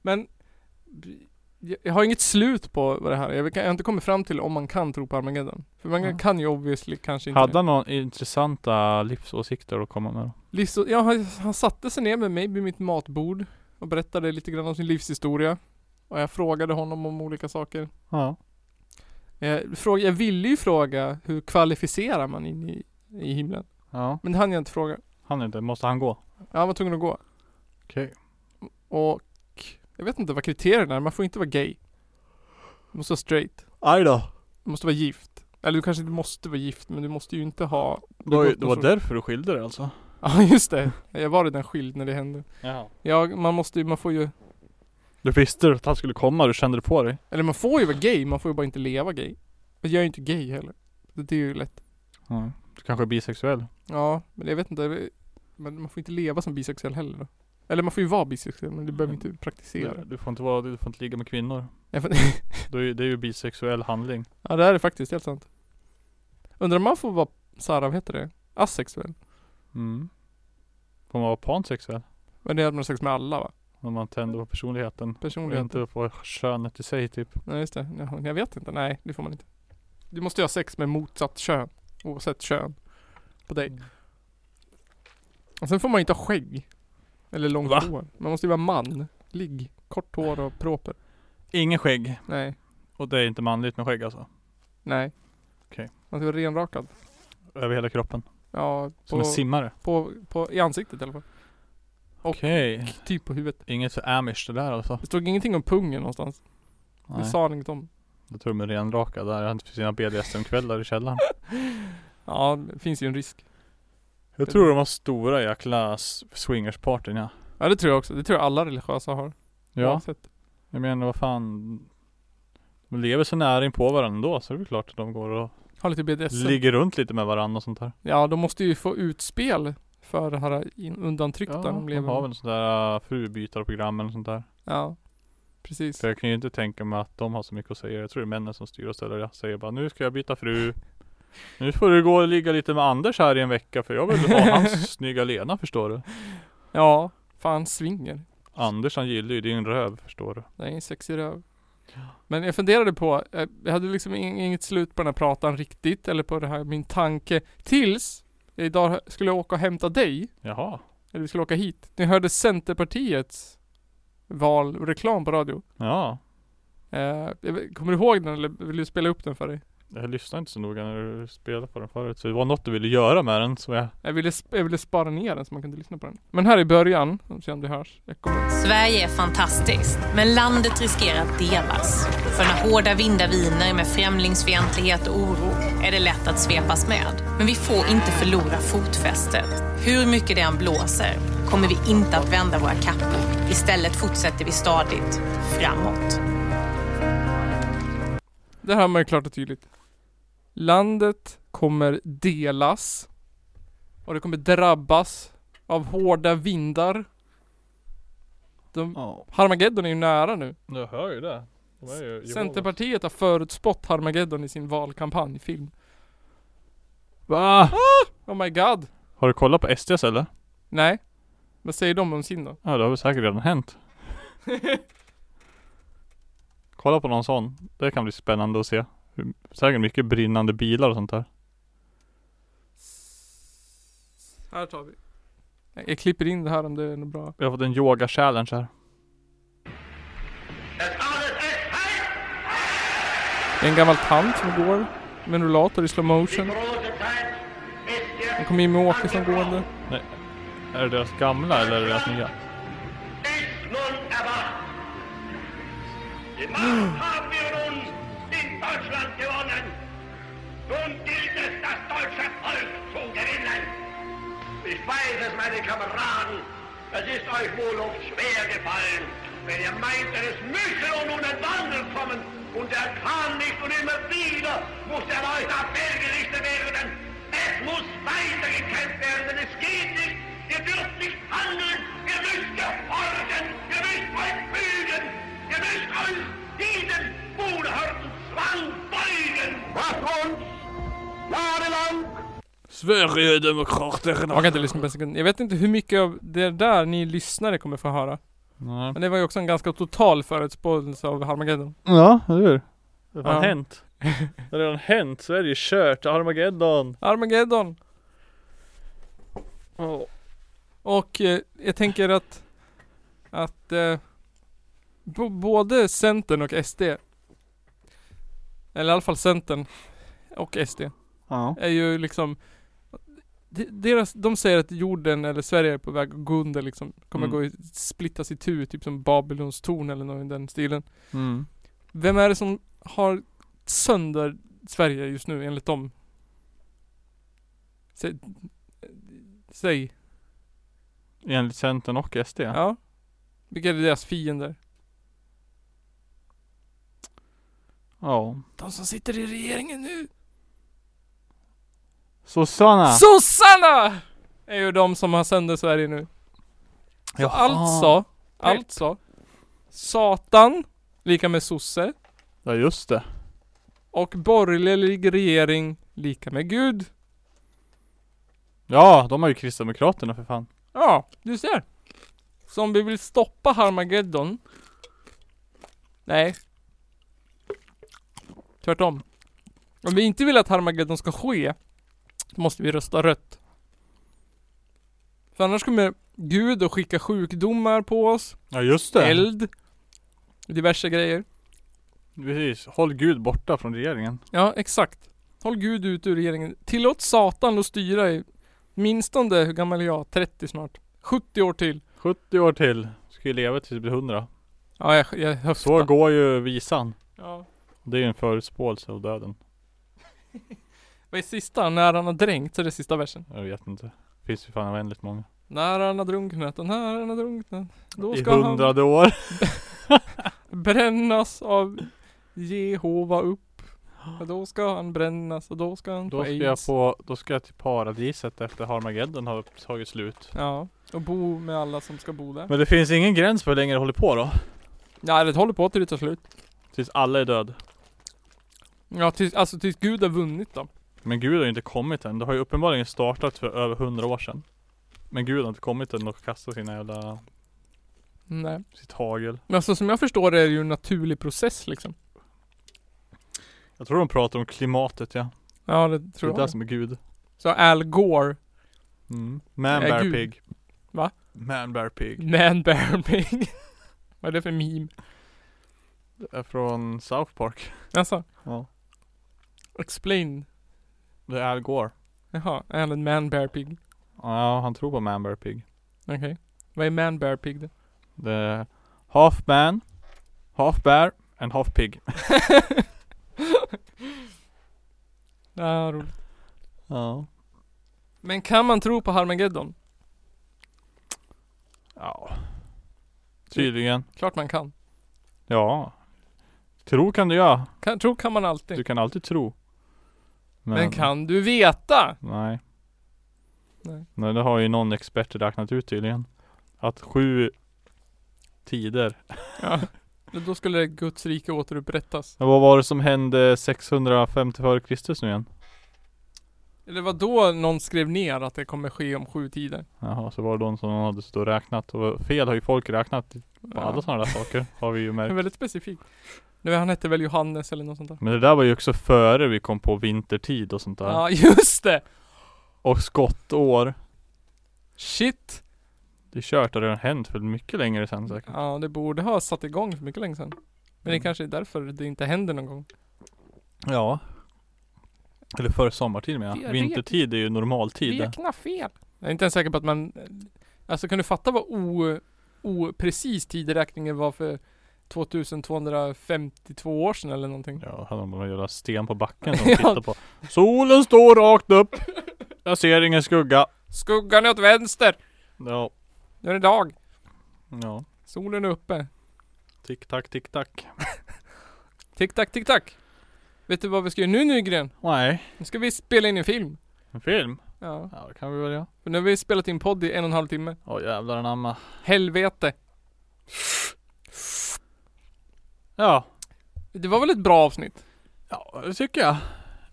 S1: Men jag jag har inget slut på vad det här är. Jag vet- jag har inte kommit fram till om man kan tro på Armageddon. För man
S2: Ja.
S1: kan ju obviously kanske inte
S2: Hade
S1: det.
S2: han några intressanta livsåsikter att komma med då?
S1: Livs- ja, han, han satte sig ner med mig vid mitt matbord och berättade lite grann om sin livshistoria. Och jag frågade honom om olika saker.
S2: Ja.
S1: Jag, fråga, jag ville ju fråga hur kvalificerar man in i, i himlen?
S2: Ja.
S1: Men det hann jag inte fråga.
S2: Han är inte. Måste han gå?
S1: Ja, han var tvungen att gå.
S2: Okej.
S1: Och jag vet inte vad kriterierna är. Man får inte vara gay. Du måste vara straight.
S2: Aj då.
S1: Du måste vara gift. Eller du kanske inte måste vara gift men du måste ju inte ha... <laughs>
S2: Det var, ju-
S1: gått
S2: det
S1: någon
S2: var
S1: sorts-
S2: därför du skilde dig alltså?
S1: Ja just det. Jag var redan skild när det hände.
S2: Ja.
S1: Ja, man måste ju, man får ju...
S2: Du visste att han skulle komma, du kände det på dig?
S1: Eller man får ju vara gay, man får ju bara inte leva gay. Men jag är ju inte gay heller. Så Det är ju lätt.
S2: Ja. Du kanske är bisexuell?
S1: Ja, men jag vet inte. Men man får inte leva som bisexuell heller då. Eller man får ju vara bisexuell men du behöver inte praktisera.
S2: Du, du, får inte vara, du får inte ligga med kvinnor.
S1: Jag får-
S2: Det är, ju- det är ju bisexuell handling.
S1: <laughs> Ja det här är faktiskt helt sant. Undrar om man får vara såhär, vad heter det? Asexuell?
S2: Mm. Får man vara pansexuell?
S1: Men det är att man har sex med alla va?
S2: Om man tänder på personligheten. Och
S1: Personligen.
S2: inte på könet i sig typ.
S1: Nej just det. Jaha, jag vet inte. Nej det får man inte. Du måste ju ha sex med motsatt kön. Oavsett kön. På dig.
S2: Mm.
S1: Och sen får man inte ha skägg. Eller långt
S2: Va?
S1: hår. Man måste ju vara man. Ligg. Kort hår och proper.
S2: Ingen skägg.
S1: Nej.
S2: Och det är inte manligt med skägg alltså.
S1: Nej.
S2: Okej.
S1: Man ska vara renrakad.
S2: Över hela kroppen.
S1: Ja.
S2: Som
S1: På,
S2: en simmare.
S1: på, på, I ansiktet i alla fall. Och-
S2: Okej.
S1: Typ på huvudet.
S2: Inget för amish det där alltså.
S1: Det stod ingenting om pungen någonstans. Det
S2: Nej.
S1: sa han inget om.
S2: Då tror de är renraka där. Han för sina BDSM-kvällar i <laughs> källaren.
S1: Ja, det finns ju en risk.
S2: Jag tror de har stora jäkla s- swingerspartyn ja.
S1: Ja det tror jag också. Det tror jag alla religiösa har.
S2: Ja.
S1: Oavsett.
S2: Jag menar vad fan. De lever så nära in på varandra ändå så det är väl klart att de går och
S1: Har lite BDSM.
S2: ligger runt lite med varandra och sånt där.
S1: ja, de måste ju få utspel för det här in- undantryckta
S2: Ja,
S1: de
S2: de
S1: lever
S2: har
S1: med.
S2: väl sånt där äh, frubytarprogram eller sånt där.
S1: Ja, precis.
S2: För jag kan ju inte tänka mig att de har så mycket att säga. Jag tror det är männen som styr och ställer. Jag säger bara nu ska jag byta fru. Nu får du gå och ligga lite med Anders här i en vecka för jag vill ha hans snygga Lena förstår du.
S1: Ja, fan swinger.
S2: Anders han gillar ju din röv förstår du.
S1: Det är en sexig röv. Men jag funderade på, eh, jag hade liksom in- inget slut på den här pratan riktigt, eller på det här, min tanke. Tills jag idag skulle åka och hämta dig,
S2: Jaha.
S1: eller vi skulle åka hit. Ni hörde Centerpartiets valreklam på radio.
S2: Ja.
S1: Eh, jag vet- kommer du ihåg den eller vill du spela upp den för dig?
S2: Jag lyssnade inte så noga när du spelade på den förut. Så det var något du ville göra med den så jag
S1: Jag ville, sp- jag ville spara ner den så man kunde lyssna på den. Men här i början, om se om det hörs. Jag kommer.
S6: Sverige är fantastiskt, men landet riskerar att delas. För när hårda vindar viner med främlingsfientlighet och oro är det lätt att svepas med. Men vi får inte förlora fotfästet. Hur mycket det än blåser kommer vi inte att vända våra kappor. Istället fortsätter vi stadigt framåt.
S1: Det här man ju klart och tydligt. Landet kommer delas. Och det kommer drabbas av hårda vindar. De,
S2: Ja.
S1: Harmageddon är ju nära nu.
S2: Jag hör ju det. De är ju
S1: Centerpartiet har förutspått Harmageddon i sin valkampanjfilm.
S2: Va?
S1: Oh my god.
S2: Har du kollat på SDs eller?
S1: Nej. Vad säger de om sin då?
S2: Ja det har väl säkert redan hänt. Kolla på någon sån. Det kan bli spännande att se. Hur- Säkert mycket brinnande bilar och sånt där.
S1: Här tar vi. Jag, jag klipper in det här om det är något bra.
S2: Vi har fått en yoga challenge här.
S1: Det är en gammal tant som går med en rullator i slow motion. Det kommer Jimmie Åkesson gående.
S2: Nej. Är det deras gamla eller är det deras nya?
S7: ist nun erwacht. Die Macht haben wir nun in Deutschland gewonnen. Nun gilt es, das deutsche Volk zu gewinnen. Ich weiß es, meine Kameraden, es ist euch wohl oft schwer gefallen, wenn ihr meint, es müsse nun ein Wandel kommen. Und er kam nicht und immer wieder muss er euch abwehrgerichtet werden. Es muss weitergekämpft werden, denn es geht nicht. Ihr dürft nicht handeln, ihr müsst gehorchen, ihr müsst euch fügen, ihr müsst euch diesem unerhörten Zwang beugen. Was uns jahrelang
S1: Jag kan inte lyssna på en sekund. Jag vet inte hur mycket av det där ni lyssnare kommer få höra.
S2: Nej.
S1: Men det var ju också en ganska total förutspådelse av Harmageddon.
S2: Ja, eller hur? Det har
S1: Ja.
S2: hänt. Det har redan hänt. Sverige är kört. Armageddon.
S1: Armageddon! Och eh, jag tänker att att eh, b- både Centern och SD eller i alla fall Centern och SD
S2: Ja.
S1: är ju liksom de- deras, de säger att jorden eller Sverige är på väg att gå under liksom, kommer
S2: Mm.
S1: gå i, splittas i tur, typ som Babylons torn eller något i den stilen.
S2: Mm.
S1: Vem är det som har sönder Sverige just nu enligt dem? Sä, säg.
S2: Enligt Centern och SD.
S1: Ja. Vilka är deras fiender?
S2: ja.
S1: De som sitter i regeringen nu.
S2: Sossarna.
S1: Sossarna! Är ju de som har sönder Sverige nu.
S2: Jaha.
S1: Alltså, alltså. Satan, lika med sosse.
S2: Ja just det.
S1: Och borgerlig regering, lika med Gud.
S2: Ja, de har ju Kristdemokraterna för fan.
S1: Ja, du ser. Så om vi vill stoppa Harmageddon. Nej. Tvärtom. Om vi inte vill att Harmageddon ska ske. Så måste vi rösta rött. För annars kommer Gud att skicka sjukdomar på oss.
S2: Ja just det.
S1: Eld. Diverse grejer.
S2: Precis. Håll Gud borta från regeringen.
S1: Ja, exakt. Håll Gud ut ur regeringen. Tillåt Satan att styra i minstone, hur gammal är jag? 30 snart. 70 år till.
S2: 70 år till. Ska ju leva tills det blir 100.
S1: Ja, jag, jag höftar.
S2: Så går ju visan.
S1: Ja.
S2: Det är ju en förutspåelse av döden.
S1: Vad är sista? När han har dränkt, så är det sista versen.
S2: Jag vet inte. Finns ju fan oändligt många.
S1: När han har drunknat och när han har drunknat. Då
S2: I
S1: ska han
S2: hundrade år.
S1: <laughs> brännas av Jehova upp. Och då ska han brännas och då ska han
S2: Då
S1: få
S2: ska
S1: aids.
S2: jag få, då ska jag till paradiset efter Harmageddon har tagit slut.
S1: Ja. Och bo med alla som ska bo där.
S2: Men det finns ingen gräns för hur länge det håller på då?
S1: Nej, det håller på till det tar slut.
S2: Tills alla är död.
S1: Ja, tills, alltså tills Gud har vunnit då.
S2: Men Gud har ju inte kommit än. Det har ju uppenbarligen startat för över hundra år sedan. Men Gud har inte kommit än och kastat sina jävla,
S1: Nej.
S2: sitt hagel.
S1: Men alltså som jag förstår det är det ju en naturlig process liksom.
S2: Jag tror de pratar om klimatet ja.
S1: Ja, det
S2: Det är
S1: tror
S2: det
S1: jag.
S2: som är Gud.
S1: Så Al Gore,
S2: Mm. Man
S1: Nej,
S2: bear
S1: Gud.
S2: pig.
S1: Va?
S2: Man bear pig.
S1: Man Bear Pig. <laughs> Vad är det för meme?
S2: Det är från South Park.
S1: Alltså,
S2: Ja.
S1: explain.
S2: Det är Al Gore.
S1: Jaha, är han en Man Bear Pig?
S2: Ja, han tror på man bear pig.
S1: Okej. Vad är Man Bear Pig då?
S2: Det är half man, half bear and
S1: <laughs>
S2: half pig.
S1: Ja, roligt.
S2: Ja.
S1: Men kan man tro på Harmageddon?
S2: Ja. Tydligen.
S1: Klart man kan.
S2: Ja. Tro kan du göra.
S1: kan tro kan man alltid.
S2: Du kan alltid tro.
S1: Men kan du veta?
S2: Nej.
S1: Nej.
S2: Nej, det har ju någon expert räknat ut tydligen. Att sju tider.
S1: Ja. Då skulle Guds rike återupprättas.
S2: Men Vad var det som hände 650 före Kristus nu igen?
S1: Eller vad då någon skrev ner att det kommer ske om sju tider?
S2: Jaha, så var det de som hade stått och räknat. Och fel har ju folk räknat på alla sådana där
S1: <laughs>
S2: saker. Har vi ju
S1: Det är
S2: märkt.
S1: väldigt specifikt. Nej, han hette väl Johannes eller något sånt där.
S2: Men det där var ju också före vi kom på vintertid och sånt där.
S1: Ja, <laughs> just det!
S2: Och skottår.
S1: Shit!
S2: Det är kört, det har redan hänt för mycket längre sedan säkert.
S1: Ja, det borde ha satt igång för mycket länge sedan. Men det
S2: Mm.
S1: kanske är därför det inte händer någon gång.
S2: Ja. Eller före sommartid menar
S1: Det
S2: jag.
S1: är
S2: Vintertid är ju normaltid. det.
S1: Räkna fel! Jag är inte ens säker på att man... Alltså kan du fatta vad o- oprecis tideräkningen var för 2252 år sedan eller någonting?
S2: Ja, hade de bara en jävla sten på backen som de
S1: Ja.
S2: tittar på. Solen står rakt upp. Jag ser ingen skugga.
S1: Skuggan är åt vänster!
S2: Ja.
S1: Nu är det dag!
S2: Ja.
S1: Solen är uppe.
S2: Tick tack, tick tack.
S1: Tick tack, tick tack! Vet du vad vi ska göra nu Nygren?
S2: Nej.
S1: Nu ska vi spela in en film.
S2: En film?
S1: Ja.
S2: Ja, det kan vi väl göra.
S1: För nu har vi spelat in podd i en och en halv timme.
S2: Åh jävlar anamma.
S1: Helvete!
S2: Ja.
S1: Det var väl ett bra avsnitt?
S2: Ja, det tycker jag.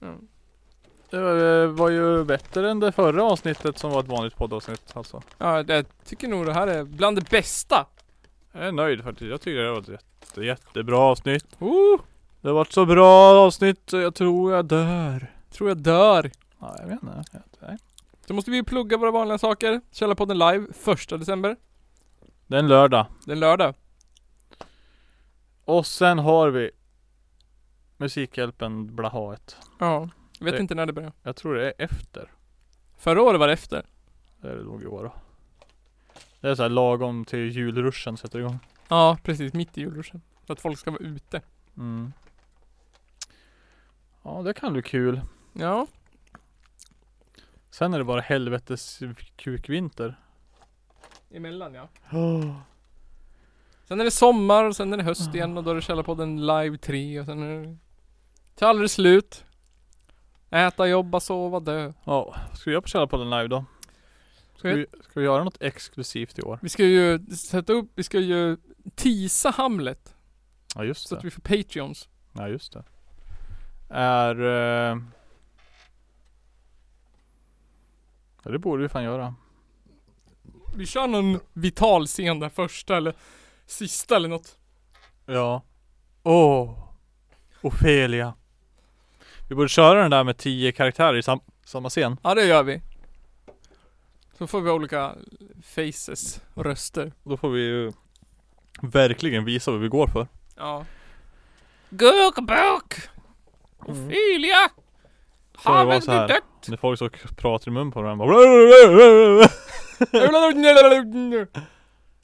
S1: Mm.
S2: Det var- eh, var ju bättre än det förra avsnittet som var ett vanligt poddavsnitt alltså.
S1: Ja, jag tycker nog det här är bland det bästa.
S2: Jag är nöjd faktiskt. Jag tycker det var ett jätte, jättebra avsnitt.
S1: Oh,
S2: Det har varit så bra avsnitt så jag tror jag dör.
S1: tror jag dör.
S2: Ja, jag vet inte. Nej.
S1: Då måste vi plugga våra vanliga saker. Källarpodden live 1 december.
S2: Det är en lördag.
S1: Det är lördag.
S2: Och sen har vi Musikhjälpen Blahaet.
S1: Ja. Jag vet
S2: Det-
S1: inte när det börjar.
S2: Jag tror det är efter.
S1: Förra året var det efter.
S2: Det är det nog i år då. Det är så här lagom till julruschen sätter igång.
S1: Ja, precis. Mitt i julruschen. Så att folk ska vara ute.
S2: Mm. Ja, det kan bli kul.
S1: Ja.
S2: Sen är det bara helvetes <gasps> kukvinter.
S1: Emellan ja. Sen är det sommar och sen är det höst igen och då är det Källarpodden live 3 och sen är det... Till aldrig slut. Äta, jobba, sova, dö.
S2: Ja, vad ska vi göra på Källarpodden live då?
S1: Ska
S2: Ska vi,
S1: vi,
S2: ska vi göra något exklusivt i år?
S1: vi ska ju sätta upp, vi ska ju teasa Hamlet.
S2: Ja just
S1: Så att
S2: det.
S1: vi får Patreons.
S2: Ja just det. Är... Eh... Ja det borde vi fan göra.
S1: Vi kör någon vital scen där första eller sista eller något.
S2: Ja. Åh! Oh. Ofelia. Vi borde köra den där med tio karaktärer i sam- samma scen.
S1: Ja det gör vi. Så får vi olika faces, röster.
S2: Då får vi ju verkligen visa vad vi går för.
S1: Ja. Gurkburk! Mm. Ophelia!
S2: Får det vara
S1: Havet
S2: så
S1: är
S2: här.
S1: dött!
S2: När folk så pratar i mun på varandra <laughs> bara...
S1: <laughs>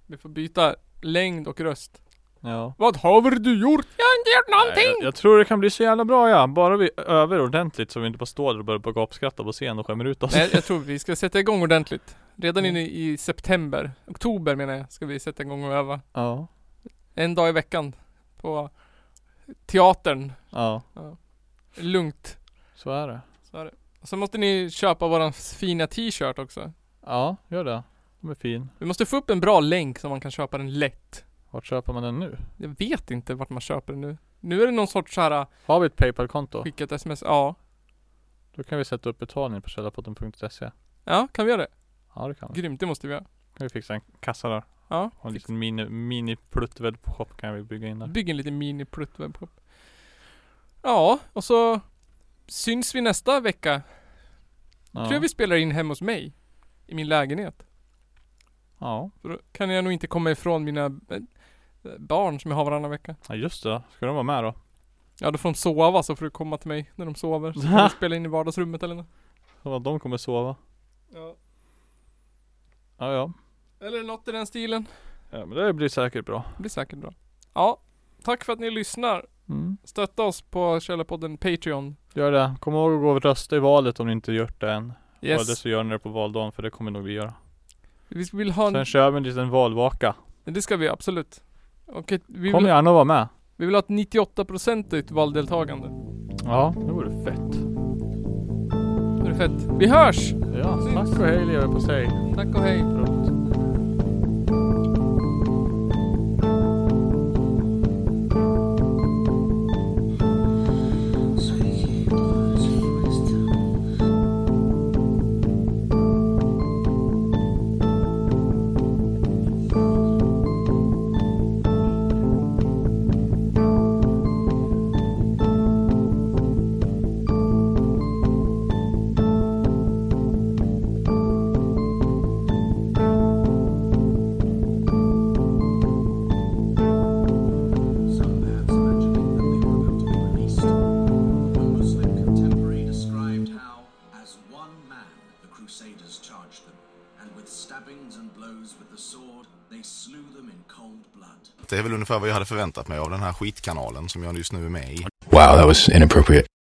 S1: Vi får byta längd och röst.
S2: Ja.
S1: Vad har du gjort? Jag har inte gjort
S2: Nej, jag,
S1: någonting!
S2: jag tror det kan bli så jävla bra ja. Bara vi övar ordentligt så vi inte bara står där och börjar gapskratta på scen och skämmer ut oss.
S1: Nej, jag tror vi ska sätta igång ordentligt. Redan inne i september, oktober menar jag, ska vi sätta igång och öva.
S2: <laughs> Ja.
S1: En dag i veckan. På teatern.
S2: Ja.
S1: Lugnt.
S2: Så är det.
S1: Så är det. Och sen måste ni köpa våran fina t-shirt också.
S2: Ja, gör det. De är fin.
S1: Vi måste få upp en bra länk så man kan köpa den lätt.
S2: Vart köper man den nu?
S1: Jag vet inte vart man köper den nu. Nu är det någon sorts såhär
S2: Har vi ett Paypal-konto?
S1: skickat sms. Ja.
S2: Då kan vi sätta upp betalning på källarpodden.se.
S1: Ja, kan vi göra det?
S2: Ja, det kan vi.
S1: Grymt, det måste vi göra.
S2: kan vi fixa en kassa där.
S1: Ja.
S2: Och en liten mini, mini pluttvädd på shop kan vi bygga in där.
S1: Bygg en liten mini pluttwebbshop. Ja, och så syns vi nästa vecka.
S2: Ja.
S1: Tror jag vi spelar in hemma hos mig. I min lägenhet.
S2: Ja.
S1: Så då kan jag nog inte komma ifrån mina eh, barn som jag har varannan vecka.
S2: ja, just det. Ska de vara med då?
S1: Ja, då får de sova så får du komma till mig när de sover. Så
S2: <laughs>
S1: kan vi spela in i vardagsrummet eller något.
S2: Så att de kommer sova.
S1: Ja.
S2: Ja, ja.
S1: Eller något i den stilen.
S2: Ja, men det blir säkert bra.
S1: Det blir säkert bra. Ja, tack för att ni lyssnar.
S2: Mm.
S1: Stötta oss på Källarpodden Patreon.
S2: Gör det. Kom ihåg att gå och rösta i valet om ni inte gjort det än.
S1: Yes.
S2: Eller så gör ni det på valdagen för det kommer nog vi göra.
S1: vi vill ha en...
S2: Sen kör vi en liten valvaka.
S1: Det ska vi absolut. Och ett, vi,
S2: Kom
S1: vill,
S2: gärna och var med.
S1: vi vill ha ett 98-procentigt valdeltagande.
S2: Ja, det vore fett.
S1: Det är fett. Vi hörs!
S2: Ja, tack och hej lever på sig.
S1: Tack och hej.
S2: Prutt.
S8: Some bands mentioning that they were going to be released. A Muslim contemporary described how, as one man, the Crusaders charged them, and with stabbings and blows with the sword, they slew them in cold blood.
S9: Det är väl ungefär vad jag hade förväntat mig av den här skitkanalen som jag just nu är med i.
S10: Wow, that was inappropriate.